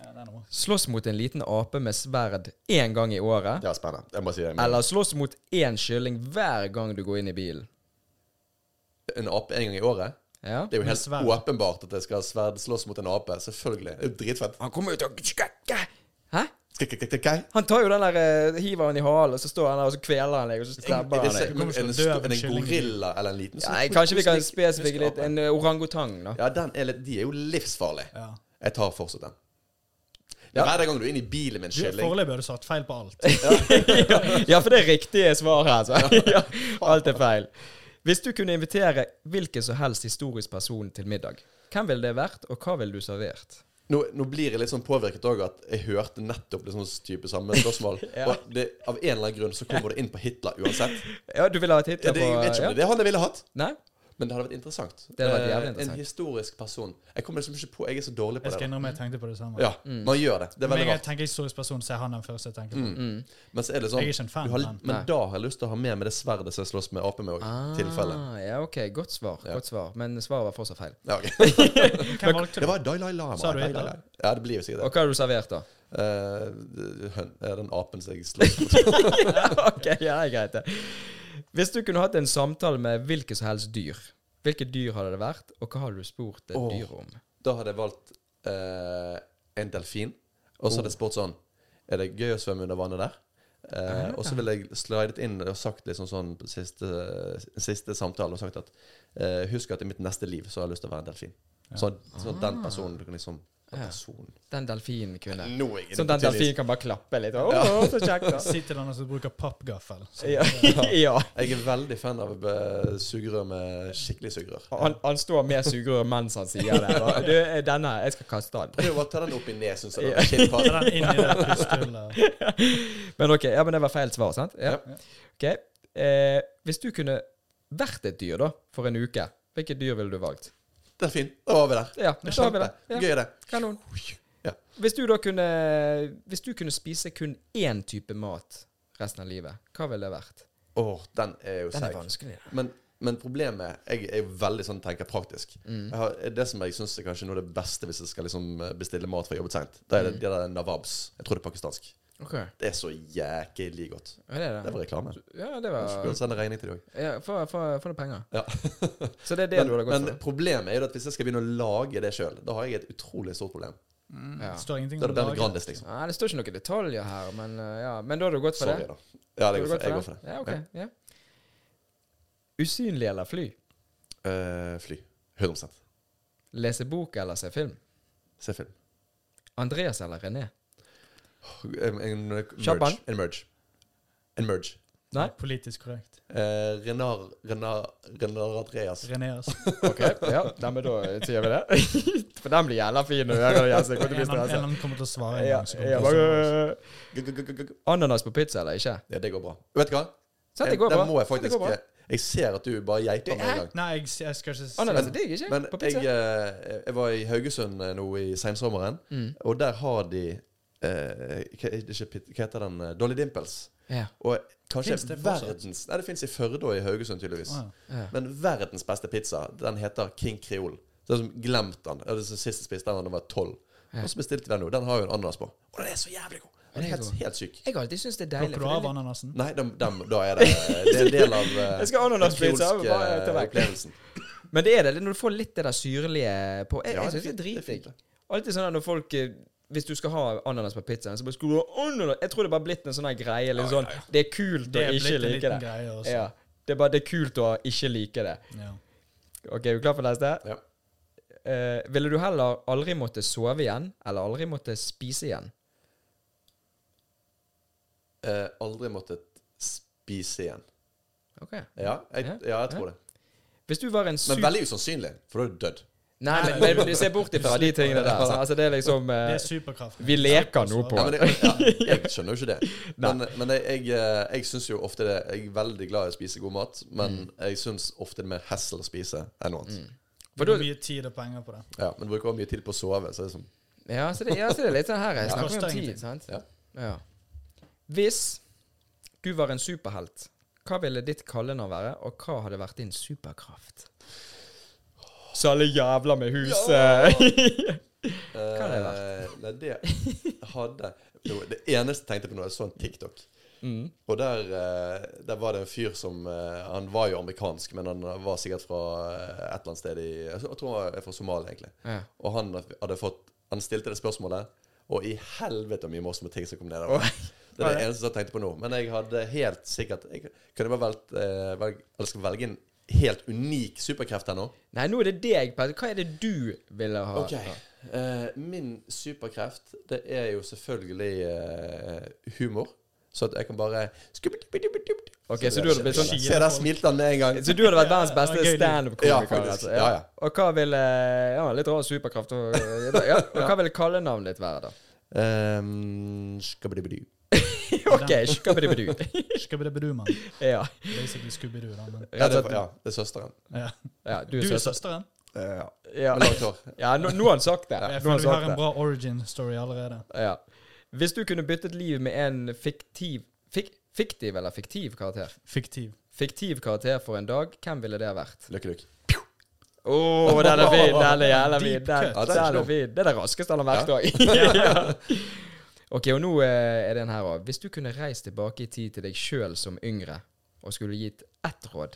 C: Ja, den er bra.
A: Slåss mot en liten ape med sverd én gang i året,
B: Det var spennende. Jeg må si det.
A: eller slåss mot én kylling hver gang du går inn i bilen?
B: En ape en gang i året?
A: Ja.
B: Det er jo
C: Med
B: helt
C: sverd.
B: åpenbart at jeg skal ha sverd slåss mot en ape. Selvfølgelig. Det er jo dritfett.
A: Han kommer jo til å Hæ?
B: Skrik, skrik, skrik, skrik.
A: Han tar jo den der eh, Hiver han i halen, og så står han der og så kveler han deg, og så
B: Er
A: stabber
B: det
A: han deg.
B: så-
C: kommer
B: men
C: til å
B: En,
C: dø
B: stor-
C: av en
B: en
C: kylling.
B: gorilla eller en liten sånn?
A: Nei, kanskje vi kan
B: Husk
A: spesifikke litt.
B: ape.
A: En eh, orangutang, da.
B: Ja, den er litt, de er jo livsfarlige.
C: Ja.
B: Jeg tar fortsatt den. Det
A: Ja.
B: er hver gang du er inne i bilen med en
C: Du,
B: kylling.
C: Foreløpig har du satt feil på alt.
A: Ja, for det er riktige svar her. Så. Ja, alt er feil. Hvis du kunne invitere hvilken som helst historisk person til middag, hvem ville det vært, og hva ville du servert?
B: Nå, nå blir jeg litt sånn påvirket òg at jeg hørte nettopp det sånn type samme spørsmål. Og det, av en eller annen grunn så kommer det inn på Hitler uansett.
A: Ja, du ville ha et Hitler
B: Det,
A: på
B: jeg vet ikke
A: ja?
B: om det er det han jeg ville hatt,
A: Nei?
B: Men det hadde vært interessant.
A: Det hadde vært
B: Eh,
A: jævlig interessant.
B: En historisk person. Jeg kommer liksom ikke på Jeg er så dårlig på
C: Jeg
B: det.
C: skal
B: da.
C: innrømme jeg tenkte på det samme.
B: Ja, man gjør det. Det er
C: Men
B: veldig
C: jeg
B: rart.
C: tenker historisk person, så er han den første jeg tenker på.
A: Mm.
B: Men så er det
C: Jeg er
B: sånn
C: ikke en
B: du
C: fan,
B: har,
C: men
B: Men
A: Nei. Ah.
B: da har jeg lyst til å ha med meg det sverdet som jeg slåss med apen med òg. Tilfelle.
A: Ja, OK. Godt svar.
B: Ja.
A: Godt svar. Men svaret var fortsatt feil.
B: Ja, ok.
C: Hvem valgte
B: Det
C: du?
B: var Dalai Lama.
C: Sa du
B: Dalai
C: ikke det?
B: Lama. Ja, det blir jo sikkert
A: Og
B: det.
A: hva har du servert, da?
B: Eh, høn- eh, den apen som jeg slåss mot.
A: ok, ja, det er greit, det. Hvis du kunne hatt en samtale med hvilket som helst dyr, hvilket dyr hadde det vært, og hva hadde du spurt et
B: Åh.
A: dyr om?
B: Da hadde jeg valgt eh, en delfin, og så hadde jeg spurt sånn Er det gøy å svømme under vannet der? Eh,
A: Ah.
B: og så ville jeg slidet inn og sagt liksom sånn på siste, siste samtale og sagt at eh, Husk at i mitt neste liv så har jeg lyst til å være en delfin. Så, så den personen du kan liksom Den
A: Ah. Ja.
B: personen
A: Den delfinen kunne
B: Nå er jeg
A: Sånn den
B: delfin.
A: delfinen kan bare klappe litt. oh. Åh, så kjekt, da.
C: Si til den som bruker pappgaffel. Så-
A: Ja. ja.
B: Jeg er veldig fan av eh, sugerør med skikkelig sugerør.
A: Han, han står med sugerør mens han sier det. Bare, Du, eh, denne, jeg skal kaste den.
B: Prøv å ta den opp i nesen, så
A: Ja.
B: den kinnpar.
C: Så den inn i det pusthullet.
A: Men ok, ja, men det var feil svar, sant? Ja. Ok. Eh, hvis du kunne vært et dyr, da, for en uke, hvilket dyr ville du valgt?
B: Delfin, da var vi der.
A: Ja, da har vi det. Ja.
B: Gøy er det.
A: Kanon.
B: Ja.
A: Hvis du da kunne Hvis du kunne spise kun én type mat resten av livet, hva ville det vært?
B: Åh, den er jo
A: Den er
B: seig.
A: vanskelig. da.
B: Men, men problemet Jeg er jo veldig sånn tenker praktisk.
A: Mm.
B: Jeg har, det som jeg syns er kanskje noe av det beste hvis jeg skal liksom bestille mat fra jobbet seint, det er
A: Mm.
B: det, det der nawabs. Jeg tror det er pakistansk.
A: Ok, ja,
B: Det er så jæklig godt.
A: det er
B: Det
A: det.
B: var reklame.
A: Ja, det
B: Jeg
A: var
B: Skulle sende regning til deg òg.
A: ja, Få få- få noen penger.
B: Ja.
A: Så det er det
B: Men,
A: du hadde gått
B: men problemet er jo at hvis jeg skal begynne å lage det sjøl, da har jeg et utrolig stort problem.
A: for? Ja.
C: Det står ingenting
B: Da er
C: om
B: det Berne
C: laget.
B: Grandis, liksom.
A: Nei, det står ikke noen detaljer her, men eh, ja. Men da hadde du gått for
B: Sorry,
A: det?
B: da. Ja, det
A: Hadde
B: går
A: du
B: for,
A: gått
B: jeg går for det.
A: Ja, ok. Ja. Usynlig eller fly?
B: Eh, fly. 100
A: Lese bok eller se film?
B: Se film.
A: Andreas eller René?
B: En, en, merge.
A: Kjapan.
B: en merge. En merge.
A: Nei?
C: Politisk korrekt.
B: Eh, Renar, Renar, Renar Andreas.
C: Reneas.
A: Ok, ja, nei, men da eh, sier vi det. For den blir jævla fin når du hører det. Jens. Jeg
C: En
A: kommer til å bli
C: av
A: stresset.
C: dem kommer til å svare en
A: Ja,
C: gang. så kommer
A: ja,
C: det til å svare.
A: bare-
B: Gu-gu-gu-gu-gu.
A: Ananas på pizza eller ikke?
B: Ja, det går bra. Vet du hva?
A: Sant, det
B: Jeg-
A: går bra.
B: Den må jeg
A: Sant, det går
B: faktisk eh,
A: bra.
B: Jeg ser at du bare geiter meg en gang.
C: Nei, jeg, jeg skal ikke si
A: Ananas er digg, ikke?
B: Men
A: på pizza?
B: jeg, eh, jeg var i Haugesund eh, nå i sensommeren,
A: Mm.
B: og der har de eh, hva, er det ikke, pit- hva heter den? eh, Dolly Dimples.
A: Ja,
B: Og kanskje
C: Finns det fortsatt?
B: verdens Nei, det fins i Førde og i Haugesund, tydeligvis.
C: Å, ja.
A: ja.
B: Men verdens beste pizza, den heter King Creole. Så jeg har liksom glemt den. Eller så sist jeg spiste den da jeg var tolv. Og så bestilte vi den nå. Den har jo en ananas på. Og den er så jævlig god!
A: Den
B: Den er
A: er
B: helt,
A: god.
B: helt syk.
A: Jeg har alltid syntes det er deilig.
C: Plukker du
A: for
C: av
A: det er litt-
C: ananasen?
B: Nei, dem, dem, da er det Det er en del av eh,
A: Jeg skal ha ananaspizza,
B: den kreolske
A: bare ta vekk.
B: opplevelsen.
A: Men det er det, når du får litt det der syrlige på Jeg,
B: Ja,
A: jeg
B: det er
A: syns det er
B: fint, det er fint,
A: dritdigg. Alltid sånn at når folk eh, hvis du skal ha ananas på pizzaen, så bare skulle du ha ananas Jeg tror det er bare blitt en sånn her greie. Eller sånn, det er kult
C: Det
A: å
C: er
A: ikke
C: blitt en
A: like
C: liten
A: det.
C: greie altså. også.
A: Ja, det er bare det er kult å ikke like det.
C: Ja.
A: Ok, er du klar for neste?
B: Ja.
A: Eh, ville du heller aldri måtte sove igjen, eller aldri måtte spise igjen?
B: Eh, aldri måttet spise igjen.
A: Ok.
B: Ja, jeg, ja, jeg tror det.
A: Hvis du var en
B: Men
A: super...
B: veldig usannsynlig, for da er du dødd.
A: Nei, men, men, men du ser bort ifra de tingene der. sant? Altså, det er liksom eh,
C: Det er altså. superkraft.
A: Vi leker nå på
B: Ja, men jeg, ja, jeg skjønner jo ikke det. Men, men jeg, jeg, eh, jeg syns jo ofte det Jeg er veldig glad i å spise god mat, men
A: Mm.
B: jeg syns ofte det er mer hassle å spise enn noe annet.
A: for
C: For
A: da-
C: mye tid og penger på det.
B: Ja, men bruker også mye tid på å sove. Så det er sånn
A: Ja, så det, ja, så det er litt sånn her. Jeg
C: Ja.
A: snakker om
C: Koster
A: tid,
C: ingenting.
A: sant?
B: Ja.
A: Ja. Hvis du var en superhelt, hva ville ditt kallenavn være, og hva hadde vært din superkraft? Så alle jævla med huset
B: Hva
A: hadde det
B: Eh, Nei, det hadde jo, Det eneste jeg tenkte på nå, jeg så en TikTok.
A: Mm.
B: Og der, eh, der var det en fyr som eh, Han var jo amerikansk, men han var sikkert fra eh, et eller annet sted i Jeg tror han er fra Somalia, egentlig.
A: Ja.
B: Og han hadde fått Han stilte det spørsmålet, og i helvete mye morsomme ting som kom ned der. Det er det eneste jeg tenkte på nå. Men jeg hadde helt sikkert Jeg kunne bare valgt eh, velg, Eller skal velge en helt unik superkreft her nå.
A: Nei, nå er det deg. Per. Hva er det du ville ha?
B: Ok. Eh, min superkreft, det er jo selvfølgelig eh, humor. Så at jeg kan bare
A: Ok, så du hadde blitt sånn-
B: Se, der smilte han med en gang.
A: Så du hadde vært verdens
C: Ja,
A: beste
C: gøy liv.
B: Ja,
A: standup-komiker?
B: faktisk.
A: altså.
B: Ja, ja.
A: Og hva ville Ja, litt rar superkraft. Og, ja, og hva ville kallenavnet ditt være, da?
B: Um, skabidibidi.
A: OK, skabbidibidu.
C: Skubbidubidu-mann.
A: Ja.
C: Basically Scooby-Doo, da. Men,
B: Ja, det er, ja, det er søsteren.
C: ja.
A: ja, du
C: Du
A: er
C: er
A: søster.
C: søsteren?
B: Ja.
A: Ja,
B: Med langt hår.
A: ja nå, nå har han sagt det. Nå
C: Jeg
A: har
C: føler
A: han
C: vi har
A: sagt
C: en
A: det.
C: bra origin-story allerede.
A: Ja. Hvis du kunne byttet liv med en fiktiv fik, Fiktiv eller fiktiv karakter?
C: Fiktiv.
A: Fiktiv karakter for en dag, hvem ville det ha vært?
B: Lykke Luke.
A: Å, den er fin! Den er jævla fin.
C: Deep
A: Den,
C: cut.
B: Ja, den er
A: den er
B: slum.
A: fin. Det er det raskeste han har vært
B: Ja.
A: òg. ja. OK, og nå eh, er den her òg. Hvis du kunne reist tilbake i tid til deg sjøl som yngre, og skulle gitt ett råd,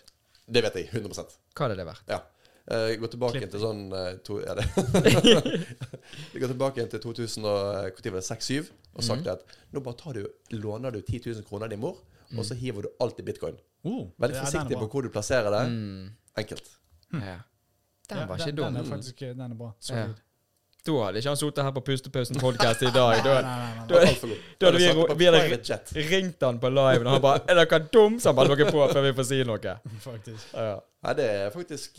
B: Det vet jeg 100
A: hva hadde det vært?
B: Ja. Eh, gå tilbake
C: Klipp.
B: til sånn eh, to, ja, det. Vi går tilbake til 2000 og eh, hvor tid var det, 6-7 og sagt
A: Mhm.
B: at nå bare tar du, låner du 10 000 kroner av din mor,
A: Mhm.
B: og så hiver du alt i bitcoin.
C: Oh,
B: Veldig
C: ja, den er
B: forsiktig
C: bra.
B: på hvor du plasserer det.
A: Mm.
B: Enkelt.
A: Ja. Den
C: Hm. Ja,
A: var ikke dum.
C: Den er faktisk den er bra.
A: Ja.
C: Solid.
A: Da hadde ikke han sittet her på Pustepausen podcast i dag. Da
C: Nei, nei, nei,
A: Du er-
B: Altfor god.
A: da hadde vi-
B: Jeg satt på
A: vi hadde-
B: private jet.
A: ringte han på live, og han bare 'Er dere dum?' Så han bare dere på før vi får si noe.
C: nei, faktisk.
A: Ja.
B: Nei, det er faktisk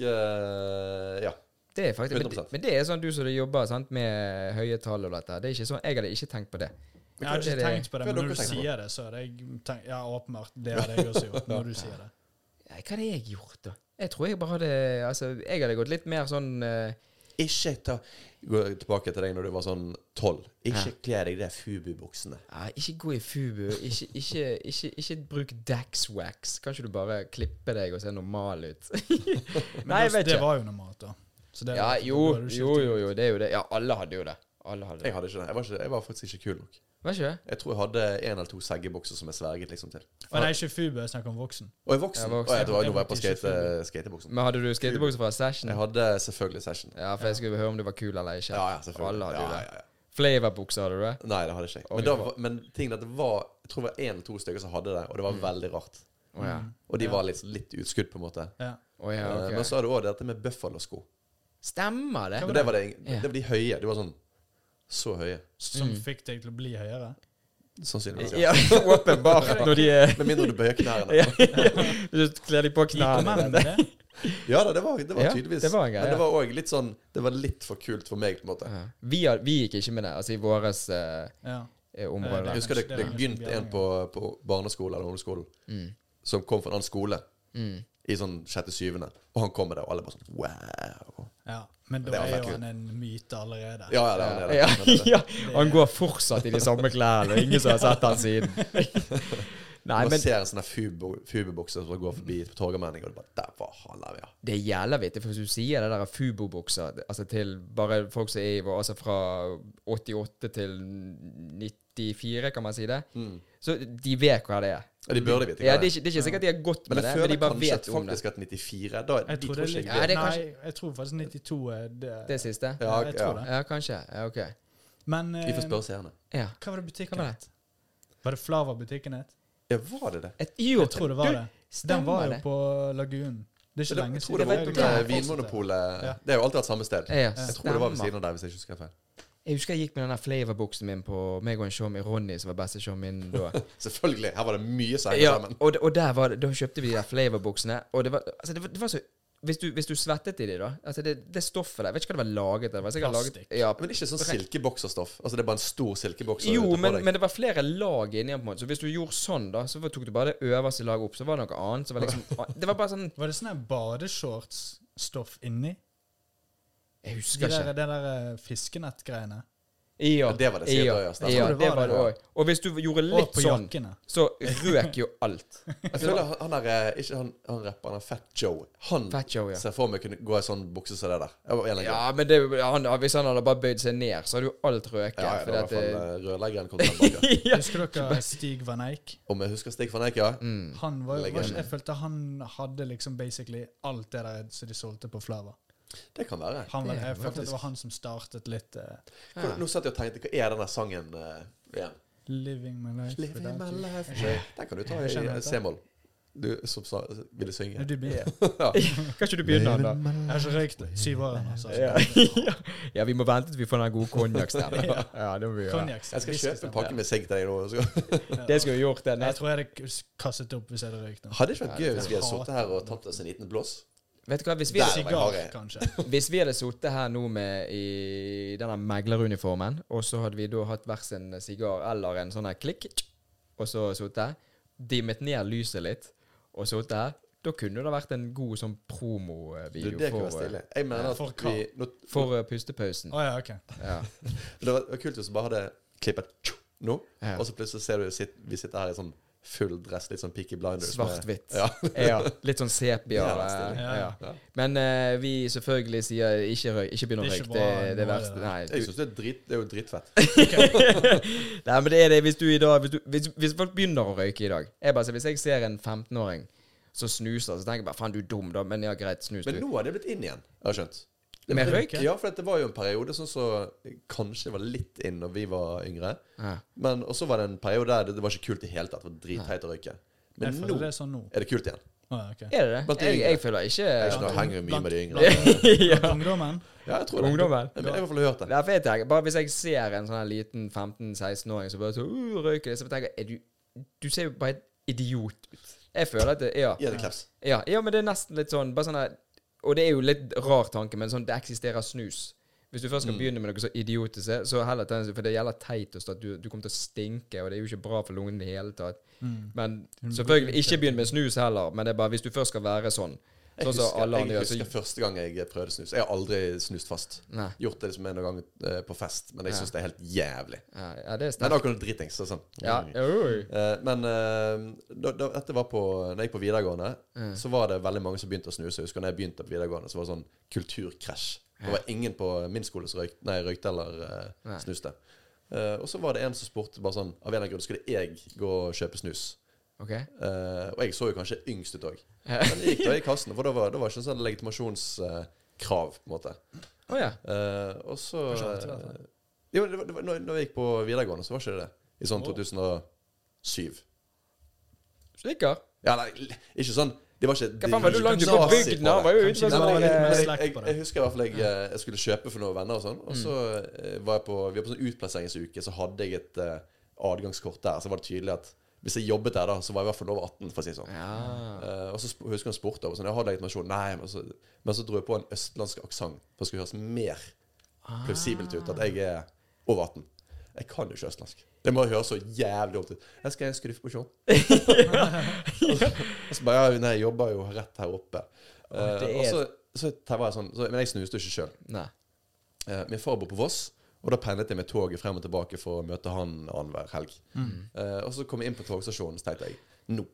B: eh, Ja.
A: Det er faktisk, men,
B: 100%.
A: men det er sånn du som du jobber sant, med høye tall og dette. her. Det er ikke sånn, Jeg hadde ikke tenkt på det.
C: Jeg har ikke
A: det-
C: tenkt på
B: hva
C: det,
B: er
C: men
B: dere
C: når du
B: tenker på?
C: sier det, så er det jeg tenk, Ja, åpenbart. Det hadde jeg også gjort, når du sier det.
A: Nei, Hva hadde jeg gjort, da? Jeg tror jeg bare hadde Altså, jeg hadde gått litt mer sånn eh,
B: Ikke ta Gå tilbake til deg når du var sånn 12. Ikke kle deg i de Fubu-buksene.
A: ja, Ikke gå i fubu. Ikke, ikke, ikke, ikke bruk Daxwax. Kan ikke du bare klippe deg og se normal ut?
C: Men
A: Nei, jeg
C: det,
A: vet
C: det
A: ikke.
C: var jo normalt, da. Så det,
A: Ja,
C: da
A: jo,
C: er du
A: jo,
C: skilt.
A: jo, jo. Det er jo det. Ja, alle hadde jo det. Alle hadde det.
B: Jeg hadde ikke det. Jeg var, ikke, jeg var faktisk ikke kul nok.
A: Var ikke det?
B: Jeg tror jeg hadde en eller to seggebukser som jeg sverget liksom til.
C: Og det er ikke Fubu, jeg snakker om voksen.
B: Og jeg er voksen.
A: Jeg er voksen.
B: Og jeg, tror jeg, nå var jeg på
C: Jeg var
B: skate,
C: ikke
B: skatebuksen.
A: Men hadde du skatebukse fra Session?
B: Jeg hadde selvfølgelig session.
A: Ja, for jeg skulle høre om du var kul eller ikke.
B: Ja, ja, selvfølgelig.
A: Alle hadde jo
B: ja,
A: det.
B: ja, ja.
A: Flavorbukse hadde du det?
B: Nei, det hadde ikke jeg.
A: Ok,
B: Men, da,
A: bra.
B: var- men tingen er at det var Jeg tror det var én eller to stykker som hadde det, og det var veldig rart.
A: Å Mm. ja.
B: Og de
C: Ja.
B: var litt, litt utskudd, på en måte.
C: Ja.
A: Å ja,
B: Eh, Men
A: ok.
B: så er det òg dette med buffalo-sko.
A: Stemmer det?
B: Men det var, det,
A: Ja.
B: det var de høye. De var sånn så høye.
C: Som
A: Mm.
C: fikk deg til å bli høyere.
B: Sannsynligvis. Ja.
A: Ja, åpenbart når de er
B: Med mindre du bøyer knærne.
A: ja, Du kler de på
C: Gikk
A: knærne.
C: menn med det?
B: Ja da, det var, det var
A: Ja,
B: tydeligvis.
A: det var en greie.
B: Men det var òg litt sånn Det var litt for kult for meg, på en måte.
A: Ja. Vi, har, vi gikk ikke med det, altså i våres eh,
C: Ja.
A: eh,
C: Eh,
A: område.
B: Jeg
A: der.
B: husker det,
C: Det
B: det
C: var-
B: begynte en på, på barneskolen eller ungdomsskolen
A: Mm.
B: som kom fra en annen skole
A: Mm.
B: i sånn sjette-syvende, og han kom med det, og alle bare sånn wow.
C: ja. Men
B: Det
C: da
B: var
C: er jo
B: kult.
C: han en myte allerede.
B: Ja, ja, det er det.
A: Ja,
B: det, er det.
A: ja. Han går fortsatt i de samme klærne, og ingen som har sett han siden. Nei,
B: Man
A: men
B: ser en sånn der fubu- fubebokser som går forbi på Torgallmenningen, og du bare Der var han der, ja.
A: Det gjelder vittig, for hvis du sier det der Fubo-bukser det- altså til bare folk som er i vår, altså fra 88 til 94, kan man si det, så de vet hva det er.
B: Ja, de burde vite Mm. hva
A: Mm. Ja, det
B: det
A: er ikke, det er ikke sikkert de har gått
B: Men
A: med det,
B: jeg
A: men
B: føler
A: de bare
B: kanskje
A: vet
B: at
A: om det.
B: faktisk at 94 da,
C: Jeg
B: De tror
C: tror det er
B: ikke jeg
C: litt
A: Ja, det er
C: Nei,
A: kanskje-
C: jeg tror faktisk 92 er det.
A: Det siste?
B: Ja,
C: jeg tror
B: ja.
C: det.
A: Ja, kanskje. Ja, ok.
C: Men eh,
B: Vi får spørre seerne.
A: Ja.
C: hva var det butikken
A: Hva var
C: het? Var det Flava-butikken het?
B: Ja, var det det?
A: Et, jo,
C: Jeg tror det var det. Den var
A: Stemmer
C: jo
A: det.
C: på Lagunen. Det er
B: Jeg
C: ikke lenge
B: tror det var oppe
A: Det var jo
B: ved
A: der.
B: Vinmonopolet.
C: Ja.
B: Det har jo alltid vært samme sted.
A: Ja,
B: Jeg tror det var ved
A: Eh, stemmer.
B: siden av der, hvis jeg ikke husker feil.
A: Jeg husker jeg gikk med den der flavorbuksen min på meg og en showman Ronny, som var beste showman da.
B: Selvfølgelig. Her var det mye som
A: Ja,
B: hengte sammen.
A: og, og der var det, da kjøpte vi de der flavorbuksene, og det var, altså det var, det var så hvis du, hvis du svettet i de, da altså det, det stoffet der Jeg vet ikke hva det var laget av. det var sikkert
C: Plastikk.
A: laget- Ja,
B: Men ikke sånn silkebokserstoff. Altså det er bare en stor silkebokser
A: jo,
B: ute på
A: men,
B: deg.
A: men det var flere lag inni den, på en måte. Så hvis du gjorde sånn, da, så tok du bare det øverste laget opp, så var det noe annet. Så var det liksom Det var bare sånn
C: Var det sånn her badeshortsstoff inni?
A: Jeg
C: De
A: husker
C: der,
A: ikke.
C: det der eh, fiskenettgreiene.
A: Ja,
B: Ja, det var det sikkert
A: ja,
B: også,
A: ja,
B: Stein.
C: Jeg tror det
A: det
C: var
A: var det
C: det.
A: òg. Og hvis du gjorde
C: Og
A: litt
C: på
A: sånn,
C: jakkene.
A: så røk jo alt.
B: Jeg føler han- han der eh, Ikke han, han rapperen, han Fat Joe. Han
A: Fat Joe, ja.
B: ser for meg kunne gå i sånn bukse som det der. Jeg var en eller annen grunn.
A: Ja, men det, han, hvis han hadde bare bøyd seg ned, så hadde jo alt røket.
B: Ja, ja, det
A: fordi
B: var i
A: at
B: hvert fall
A: det,
B: eh, rørleggeren kom tilbake.
A: Ja.
C: Husker dere Stig Van Eijk?
B: Om jeg husker Stig van Eijk, ja.
A: Mm.
C: Han var, jo- var
B: Legende.
C: ikke, jeg følte han hadde liksom basically alt det der som de solgte på Flava.
B: Det kan være.
C: Han var,
A: Det
C: jeg
A: var
C: følte det
B: faktisk-
C: var han som startet litt eh,
B: Hvor, nå satt jeg og tenkte Hva er denne sangen eh, igjen?
C: Living my life
B: Living my
C: without you.
B: life Den kan du ta
C: Jeg kjenner
B: i
C: det.
B: C-moll. Du som sa, ville synge.
C: Når du blir-
B: Ja.
A: Kan ikke du begynne, da?
C: Jeg har ikke røykt syv år ennå, så
A: Ja. ja, vi må vente til vi får den gode konjakkstemmen. Ja, det må vi gjøre.
C: konjakk.
B: Jeg skal kjøpe en
C: whisky
B: pakke med sigg til deg nå. så-
A: Det skulle vi gjort. Det.
C: stemmer. Jeg
A: Neste.
C: tror jeg hadde k- kastet opp hvis jeg hadde røykt den.
B: Hadde ikke vært gøy hvis vi hadde
C: Jeg
B: sittet her og tatt oss en liten blås.
A: Vet du hva, hvis vi,
B: Der. var
C: Sigar,
B: jeg.
C: kanskje.
A: hvis vi hadde sittet her nå med i denne megleruniformen, og så hadde vi da hatt hver sin sigar eller en sånn her klikk, og så sittet, dimmet ned lyset litt, og sittet. Da kunne det vært en god sånn
B: Du,
A: promovideo
B: det kan
A: for,
B: være stilig. Jeg mener
C: For
B: at
C: hva?
B: vi nå,
A: eh, for eh, pustepausen.
C: Å ja, OK.
A: Ja.
B: Det var det var kult hvis vi bare hadde klippet tjo, nå,
A: Ja.
B: og så plutselig ser du sitt, vi sitter her i sånn full dress, litt sånn Peaky Blinders. med-
A: Svart-hvitt.
B: Ja.
A: Ja, litt sånn sepia.
B: Ja,
A: eh,
B: stilig.
A: Ja,
B: Ja.
A: Men eh, vi selvfølgelig sier ikke røyk, ikke begynn å
C: Det er
A: røyke.
C: ikke
A: Det,
C: bra,
A: det er
C: nå er
A: verst.
C: det-
A: Nei,
B: Jeg syns det, er drit- det er jo dritfett.
A: Nei, men det er det hvis du i dag Hvis, du, hvis, hvis folk begynner å røyke i dag jeg bare, sier, Hvis jeg ser en 15-åring som snuser, så tenker jeg bare faen, du er dum, da, men ja, greit, snus,
B: Men
A: du.
B: nå har det blitt inn igjen, jeg har skjønt. Det
A: Med
B: ble-
A: røyk?
B: Ja, for at det var jo en periode sånn som kanskje var litt inn når vi var yngre.
A: Ja.
B: Men også var det en periode der det, det var ikke kult i hele tatt. Det var dritteit å røyke. Men
C: Jeg føler
B: nå
C: det er sånn nå.
B: er det kult igjen.
C: Å, ja, ok.
A: Er det det?
B: Blant de
A: Jeg,
B: yngre.
A: jeg føler ikke
B: Jeg skjønner, henger jo mye med de yngre.
C: Blant
A: Ja,
C: ungdommen?
B: Ja, jeg tror det.
A: ungdommen.
B: Jeg, jeg har i hvert fall hørt det.
A: Derfor jeg tenker, bare hvis jeg ser en sånn her liten 15-16-åring som bare så, uh, røyker, så tenker jeg er du, du ser jo bare et idiot ut. Jeg føler at det, ja.
B: Gi det klaps.
A: Ja, ja, men det er nesten litt sånn bare sånn her- Og det er jo litt rar tanke, men sånn, det eksisterer snus. Hvis du først
B: Mm.
A: skal begynne med noe så idiotisk, så heller ta en For det gjelder teitost, at du, du kommer til å stinke, og det er jo ikke bra for lungene i det hele tatt.
B: Mm.
A: Men selvfølgelig, ikke begynn med snus heller, men det er bare hvis du først skal være sånn.
B: Jeg
A: Sånn som
B: husker,
A: alle andre
B: jeg
A: gjør. Så,
B: husker første gang jeg prøvde snus. Jeg har aldri snust fast.
A: Nei.
B: Gjort det liksom en gang eh, på fest, men jeg syns det er helt jævlig.
A: ja, ja, det er
B: Men
A: sterkt.
B: da kan du dritings. så Sånn.
A: Ja, oi.
B: Eh, men eh, da, da, dette var på Når jeg gikk på videregående, så var det veldig mange som begynte å snuse. Jeg husker når jeg begynte på videregående, så var det sånn kulturkrasj. Det var ingen på min skole som røykte, nei, røykte eller eh, snuste. Eh, og så var det en som spurte bare sånn Av en eller annen grunn skulle jeg gå og kjøpe snus.
A: OK.
B: Eh, og jeg så jo kanskje yngst ut òg. Men jeg gikk da i kassen, for da var det var ikke sånn legitimasjonskrav. på en måte
A: Å ja.
B: Eh, og så eh,
C: Kanskje alltid vært
B: Jo, det var, det var, når, når jeg gikk på videregående, så var ikke det det. I sånn 2007.
A: Slikker.
B: Ja, nei, l- ikke sånn Det var ikke
A: Hva faen, var du
B: ikke
A: langt ute på
B: nazi
A: bygden? da?
B: det.
A: Var jo
C: Kanskje
A: ute
B: Nei,
A: på sånn
B: men jeg,
C: det var
B: men
C: litt
B: jeg,
C: slack
B: jeg,
C: på det.
B: jeg husker i hvert fall jeg, eh, jeg skulle kjøpe for noen venner og sånn.
A: Mm.
B: Og så eh, var jeg på Vi var på sånn utplasseringsuke, så hadde jeg et eh, adgangskort der. Så var det tydelig at hvis jeg jobbet der, da, så var jeg i hvert fall over 18, for å si det sånn.
A: Ja.
B: Eh, og så sp- husker han spurte over sånn, jeg har legitimasjon. Nei, men så, men så dro jeg på en østlandsk aksent, for det skulle høres mer plausibelt ut at jeg er over 18. Jeg kan jo ikke østlandsk. Det må høres så jævlig dumt ut. Jeg skal i en skruffeposjon. Og så bare, ja, nei, jeg jobber jo rett her oppe. Eh,
A: det
B: og
A: er-
B: så, så var jeg sånn, så, men jeg snuste jo ikke selv.
A: Nei.
B: Eh, min far bor på Voss, og da pendlet jeg med toget frem og tilbake for å møte han annenhver helg.
A: Mm.
B: Eh, og så kom jeg inn på togstasjonen, så tenkte jeg nå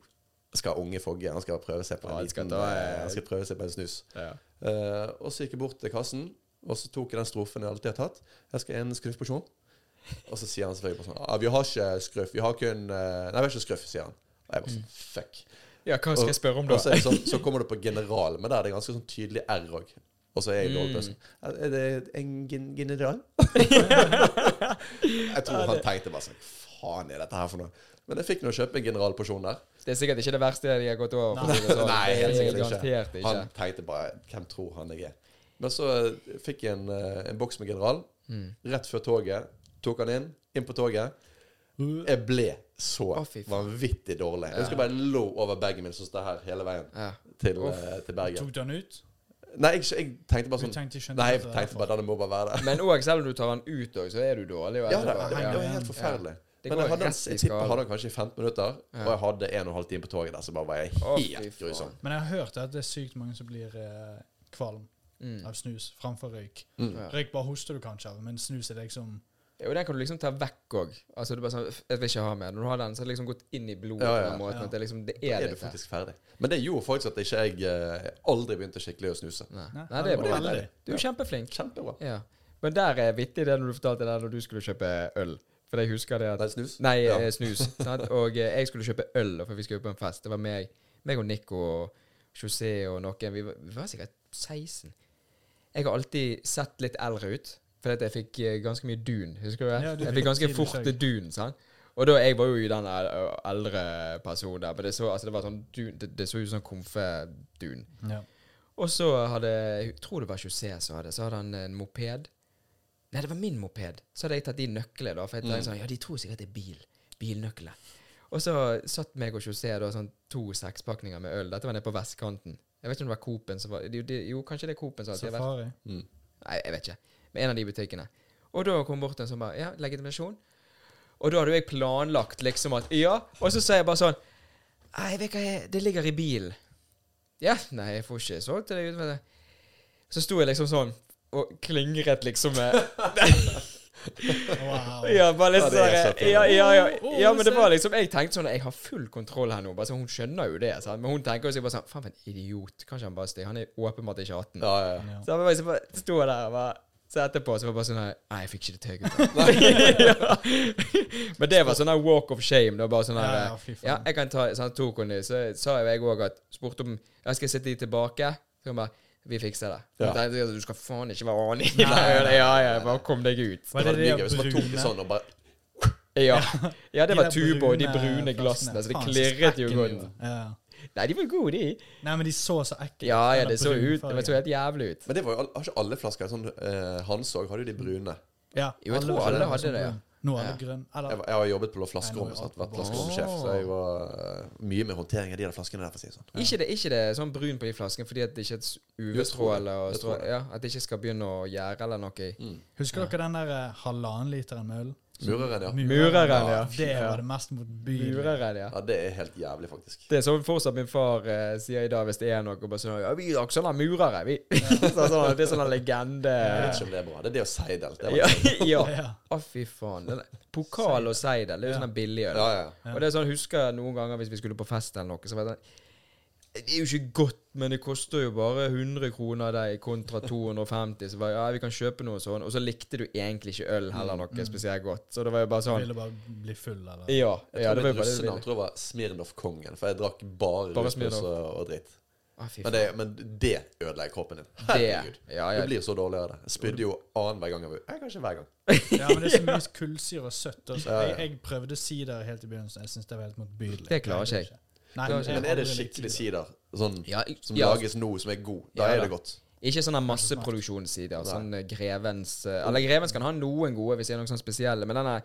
B: skal unge Fogge han skal prøve seg på en
A: Ja, han skal
B: liten
A: ta,
B: eh,
A: eh,
B: han skal prøve seg på en snus.
A: Ja.
B: Eh, og så gikk jeg bort til kassen, og så tok jeg den strofen jeg alltid har tatt. Jeg skal en skruffporsjon. Og så sier han selvfølgelig bare sånn ah, 'Vi har ikke skruff. Vi har kun eh, Nei, vi har ikke skruff', sier han. Og jeg bare sånn Fuck.
A: ja, hva skal jeg spørre om
B: Og
A: da?
B: så, er det sånn, så kommer du på general, men der er det ganske sånn tydelig R òg. Og så er jeg dårlig person.
A: Mm.
B: Er det en gen general? jeg tror han tenkte bare sånn Faen er dette her for noe? Men jeg fikk nå kjøpe en generalporsjon der.
A: Det er sikkert ikke det verste de har gått over. for å si det sånn.
B: Nei, helt
A: Det er
B: sikkert
A: garantert
B: ikke.
A: ikke.
B: Han tenkte bare Hvem tror han jeg er? Men så eh, fikk jeg en, eh, en boks med general
A: Mm.
B: rett før toget. Tok han inn, inn på toget. Jeg ble så
A: Å, fy faen.
B: vanvittig dårlig. Jeg husker bare jeg lå over bagen min sånn som det her hele veien
A: Ja.
B: til, eh, til Bergen.
C: Tok du den ut?
B: Nei, jeg, jeg tenkte bare
C: Du
B: sånn
C: tenkte ikke
B: Nei, jeg
C: at det
B: tenkte bare denne må bare være der.
A: Men òg selv om du tar den ut, også, så er du dårlig. jo
B: Ja, det,
A: etterpå.
B: det, det var
A: Ja.
B: helt forferdelig.
A: Det
B: Men
A: går
B: jeg, hadde,
A: rett i
B: jeg tipper jeg
A: skallen.
B: hadde den kanskje i 15 minutter, og jeg hadde en og en halv time på toget der, så bare var jeg
A: Å, fy
B: helt
A: faen.
B: grusom.
C: Men jeg har hørt at det er sykt mange som blir eh, kvalm
A: Mm.
C: av snus framfor røyk.
B: Mm.
A: Ja.
C: Røyk bare hoster du kanskje av, men snus er liksom
A: Jo, den kan du liksom ta vekk òg. Altså, du bare sånn "F- Jeg vil ikke ha mer. Når du har den, så har det liksom gått inn i blodet
B: Ja,
A: på
B: ja,
A: den måten.
C: ja.
A: At det liksom Det
B: Da
A: er,
B: er du
A: litt der.
B: faktisk ferdig. Men det gjorde faktisk at ikke jeg eh, aldri begynte skikkelig å snuse.
A: Nei.
C: Nei,
A: Nei, det er
C: det
A: bra.
C: var veldig.
A: Du er kjempeflink.
B: Kjempebra.
A: Ja. Men der er vittig det når du fortalte det når du skulle kjøpe øl. For jeg husker det at
B: Nei, snus?
A: Nei,
B: Ja.
A: eh, snus. sant? Og eh, jeg skulle kjøpe øl, for vi skulle på en fest. Det var meg, meg og Nico og José og noen. Vi var, vi var sikkert 16. Jeg har alltid sett litt eldre ut, fordi at jeg fikk eh, ganske mye dun. Husker du det?
C: Ja, du
A: jeg
C: fikk
A: fikk ganske
C: tidlig
A: fort
C: skjegg.
A: dun. sant? Og da, Jeg var jo i den el- eldre personen der, men det så, altså, det var sånn dun, det, det så ut som sånn komfedun.
C: ja.
A: Og så hadde Jeg tror det var José som hadde Så hadde han en moped. Nei, det var min moped. Så hadde jeg tatt de nøklene, da. For jeg tenkte sånn Ja, de tror sikkert det er bil. Bilnøkler. Og så satt meg og José da sånn to sekspakninger med øl. Dette var nede på vestkanten. Jeg vet ikke om det var Coop-en som var Jo, det, jo kanskje det er Coop-en som alltid har vært
C: Safari.
A: Nei, jeg vet ikke. Med en av de butikkene. Og da kom bort en som bare Ja, legitimasjon. Og da hadde jo jeg planlagt liksom at Ja. Og så sier jeg bare sånn Nei, jeg vet ikke, jeg- det ligger i bilen. Ja, nei, jeg får ikke solgt til deg utenfor det. Så sto jeg liksom sånn og klingret liksom med
C: Wow.
A: Ja, bare litt
B: Ja, det er
A: sånn
B: så fint.
A: ja, ja, ja,
C: Å,
A: ja, men det
C: se.
A: var liksom Jeg tenkte sånn Jeg har full kontroll her nå. Bare så Hun skjønner jo det, sant? men hun tenker jo sikkert bare sånn Faen, for en idiot. Kanskje han bare stiger. Han er åpenbart ikke 18.
B: Ja, ja. ja.
C: Ja.
A: Så jeg bare, så bare sto jeg der og bare så etterpå så var det bare sånn her, Nei, jeg fikk ikke det til, gutter. ja. Men det var sånn her walk of shame. Det var bare sånn her Ja,
C: Ja, ja, fy faen.
A: jeg kan ta sånn, tok hun det, så sa jo jeg òg at Spurte om jeg skal sitte de tilbake. Så hun bare Vi fikser det.
B: Ja.
A: Nei, Du skal faen ikke være aning. Ja, ja, bare kom deg ut.
C: Var
B: Det var
C: det det
B: mye gøy hvis man tok det
C: brune?
B: sånn og bare
A: Ja, ja det
C: De
A: var
C: der
A: tuba og de brune
C: flaskene.
A: glassene, så det
C: Faen,
A: klirret jo
C: skrekken
A: godt.
C: gjorde. Ja.
A: Nei, de var gode, de.
C: Nei, men de så så ekle
A: Ja, ja,
C: Den
A: det så
C: brune
A: ut. Det
C: fargen.
A: så helt jævlig ut.
B: Men det var jo, al- har ikke alle flasker sånn eh, Hans òg hadde jo de brune.
C: Ja,
A: Jo, jeg tror alle hadde det, ja.
C: Nå er det grønn.
B: Jeg,
C: Eller
B: var- jeg har jobbet på Blå Flaskerommet, sant? vært flaskeromsjef, så jeg var eh, mye med håndtering av de der flaskene der, for å si det sånn.
A: Ikke det, ikke det sånn brun på de flaskene fordi at det ikke er s- UV-stråle og
B: Jeg tror
A: strå,
B: det. Mm.
A: ja, At det ikke skal begynne å gjære eller noe. i.
C: Husker dere den der eh, halvannen literen med øl?
B: Mureren, ja.
A: Mureren, ja.
C: Det
A: Ja.
C: var det mest motbydelige.
A: Mureren, ja.
B: ja. Det er helt jævlig, faktisk.
A: Det er sånn fortsatt min far eh, sier i dag hvis det er noe. Bare sånn, ja, 'Vi er sånne murere, vi.' så, sånn, det er sånn en legende.
B: Jeg vet ikke om det er bra. Det er det å seidel. Det var
A: Ja. ja.
C: Ja.
A: Å, fy faen. Den, pokal og seidel, det er jo sånn billig øl.
B: Ja, ja.
A: Og det er sånn, husker jeg noen ganger hvis vi skulle på fest eller noe, så var det sånn Det er jo ikke godt, men det koster jo bare 100 kroner deg kontra 250. Så bare, ja, vi kan kjøpe noe sånn. Og så likte du egentlig ikke øl
B: Mm,
A: heller noe spesielt godt. Så det var jo bare sånn
C: Ville bare bli full, eller?
A: Ja. ja
B: Jeg
A: det
B: tror
A: var jo
B: mitt
A: bare det du
B: russenavn
A: ville.
B: tror jeg var Smirnov-kongen, for jeg drakk bare,
A: Bare
B: ruspus
A: Smirnoff.
B: og, og dritt.
A: Ah, fy
B: Men
A: faen.
B: det, men det ødelegger kroppen din.
A: Det,
B: Herregud.
A: ja,
B: Du
A: ja,
B: blir så dårlig av det. Jeg spydde jo annenhver gang jeg var ute. Kanskje hver gang.
C: Ja, men det er så mye kullsyre og søtt. Også.
B: Ja, ja.
C: Jeg, jeg prøvde sider helt i begynnelsen. Jeg syns det var helt motbydelig.
A: Det klarer ikke jeg.
C: Nei,
A: Men-
C: jeg
B: Men er det
C: aldri likt
B: skikkelig sider sånn,
A: ja,
B: som
A: ja, altså-
B: lages nå, som er god, da
A: Ja,
B: er
A: da.
B: det godt.
A: ikke sånn sånne masseproduksjonssider.
B: Nei.
A: Sånn eh, Grevens eh, Eller Grevens kan ha noen gode hvis det er noen sånne spesielle, men denne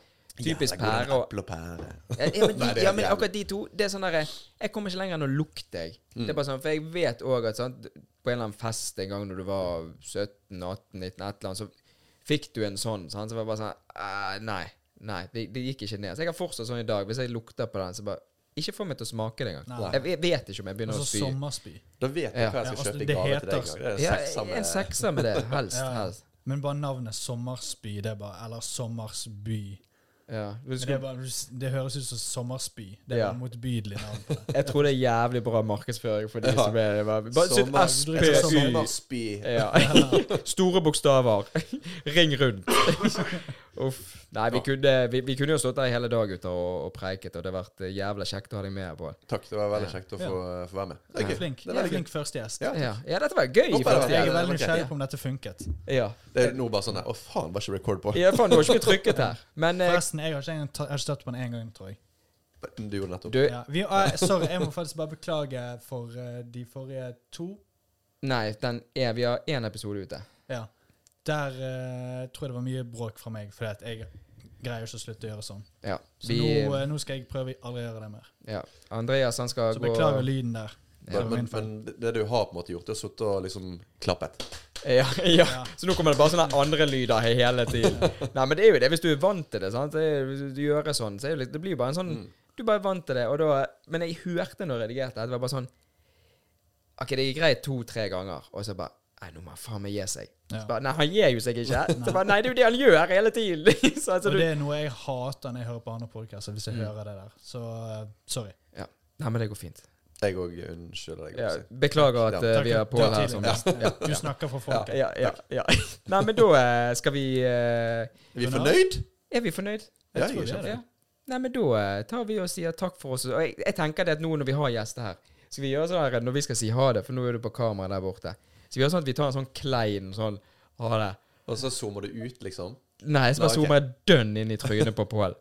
A: typisk pære og
B: Eple og pære.
A: Ja, Eh, ja, men, de,
B: Nei, det er
A: ja, men
B: jævlig.
A: akkurat de to Det er sånn der Jeg kommer ikke lenger enn å lukte, jeg.
B: Mm.
A: Det er bare sånn, For jeg vet òg at sant, på en eller annen fest en gang når du var 17-18-19, et eller annet, så fikk du en sånn. Sant? Så var det bare sånn «Eh, Nei. Nei, det, det gikk ikke ned. Så jeg har fortsatt sånn i dag. Hvis jeg lukter på den, så bare Ikke få meg til å smake det engang.
C: Nei.
A: Jeg, jeg vet ikke om jeg begynner
C: Altså
A: å spy.
C: sommerspy.
B: Da vet du
A: Ja.
B: hva
C: Ja,
B: jeg skal
C: altså,
B: kjøpe i
C: det
B: gave til deg.
C: heter-
B: en gang. Det
A: Ja,
B: er en sekser
A: en
B: med
A: sekser med det. Helst.
C: Ja, ja.
A: helst.
C: Men bare navnet sommerspy, det er bare Eller sommersby.
A: Ja. Du
C: Men det,
A: skulle-
C: er bare, det høres ut som sommerspy. Det er
A: Ja.
C: bare motbydelig navn. på det.
A: Jeg tror det er jævlig bra markedsføring for de
B: Ja.
A: som er Bare sitt
B: Sommer-
A: SPU.
B: Sommerspy.
A: Ja. Store bokstaver. Ring rundt. Uff. Nei, vi kunne, vi, vi kunne jo stått der hele dag gutter og, og preiket, og det har vært eh, jævla kjekt å ha deg med på.
B: Takk, det var veldig kjekt å få, få være med. Det er gøy.
C: Flink,
B: Det er veldig gøy.
C: flink første gjest.
B: Ja.
A: Ja, ja dette var gøy.
B: Håper
A: faktisk.
B: det
C: Jeg er
B: Ja,
C: veldig
B: ok.
C: nysgjerrig på om dette funket.
A: Ja.
B: Det er nå bare sånn her Å, faen, var ikke record på?
A: ja, faen, du har ikke blitt trykket her. Men eh,
C: Forresten, jeg har ikke, engang ta- jeg har ikke støtt på den én gang, tror jeg.
B: Du gjorde nettopp.
A: du
C: Ja, vi, ah, sorry, jeg må faktisk bare beklage for eh, de forrige to.
A: Nei, den er, vi har én episode ute.
C: Ja. Der eh, tror jeg det var mye bråk fra meg, fordi at jeg greier ikke å slutte å gjøre sånn.
A: Ja.
C: Så
A: Vi,
C: nå, eh, nå skal jeg prøve å aldri gjøre det mer.
A: ja. Andreas, han skal
C: Så
A: gå
C: beklager lyden der. Det
B: Men,
C: var
B: men,
C: min feil.
B: men det du har på en måte gjort, det er å sitte og liksom klappet.
A: Ja, ja. Så nå kommer det bare sånne andre lyder he- hele tiden. Nei, men det er jo det hvis du er vant til det. sant? Det er, hvis du gjør det sånn, så er det, litt- det blir jo bare en sånn
C: Mm.
A: Du bare er vant til det. Og da, men jeg hørte når jeg redigerte, at det var bare sånn OK, det gikk greit to-tre ganger, og så bare Nei, nå må han faen meg gi seg.
C: Ja.
A: Så bare, Nei, han gir jo seg ikke. Så bare, Nei, det er jo det han gjør hele tiden. så, altså, du,
C: Og
A: Mm.
C: det er noe jeg hater når jeg hører på andre podkaster, hvis jeg hører det der. Så eh, sorry.
A: ja. Nei, men det går fint.
B: Jeg òg unnskylder deg.
A: Ja,
B: altså.
A: beklager at
B: Ja.
A: eh, vi har
C: Takk,
A: Pål
C: takk
A: her som
C: tidlig. Ja. Du snakker for folket.
A: Ja, ja, ja. Nei, men da eh, skal vi eh,
B: Er vi fornøyd?
A: Er vi fornøyd?
C: Jeg
B: Ja,
C: tror
B: jeg
C: det
B: er
C: er det.
A: Ja. Nei, men da eh, tar vi og sier takk for oss. Og jeg, jeg tenker det at nå når vi har gjester her, skal vi gjøre sånn her når vi skal si ha det, for nå er du på kamera der borte. Så vi gjør sånn at vi tar en sånn klein sånn ha det.
B: Og så zoomer du ut, liksom.
A: Nei, så bare
B: Nei, ok.
A: zoomer jeg dønn inn i trynet på Pål.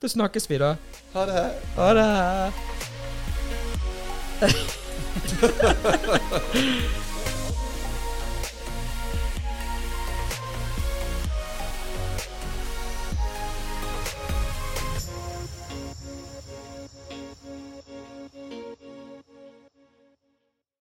A: Da snakkes vi, da.
B: Ha det.
A: Ha det.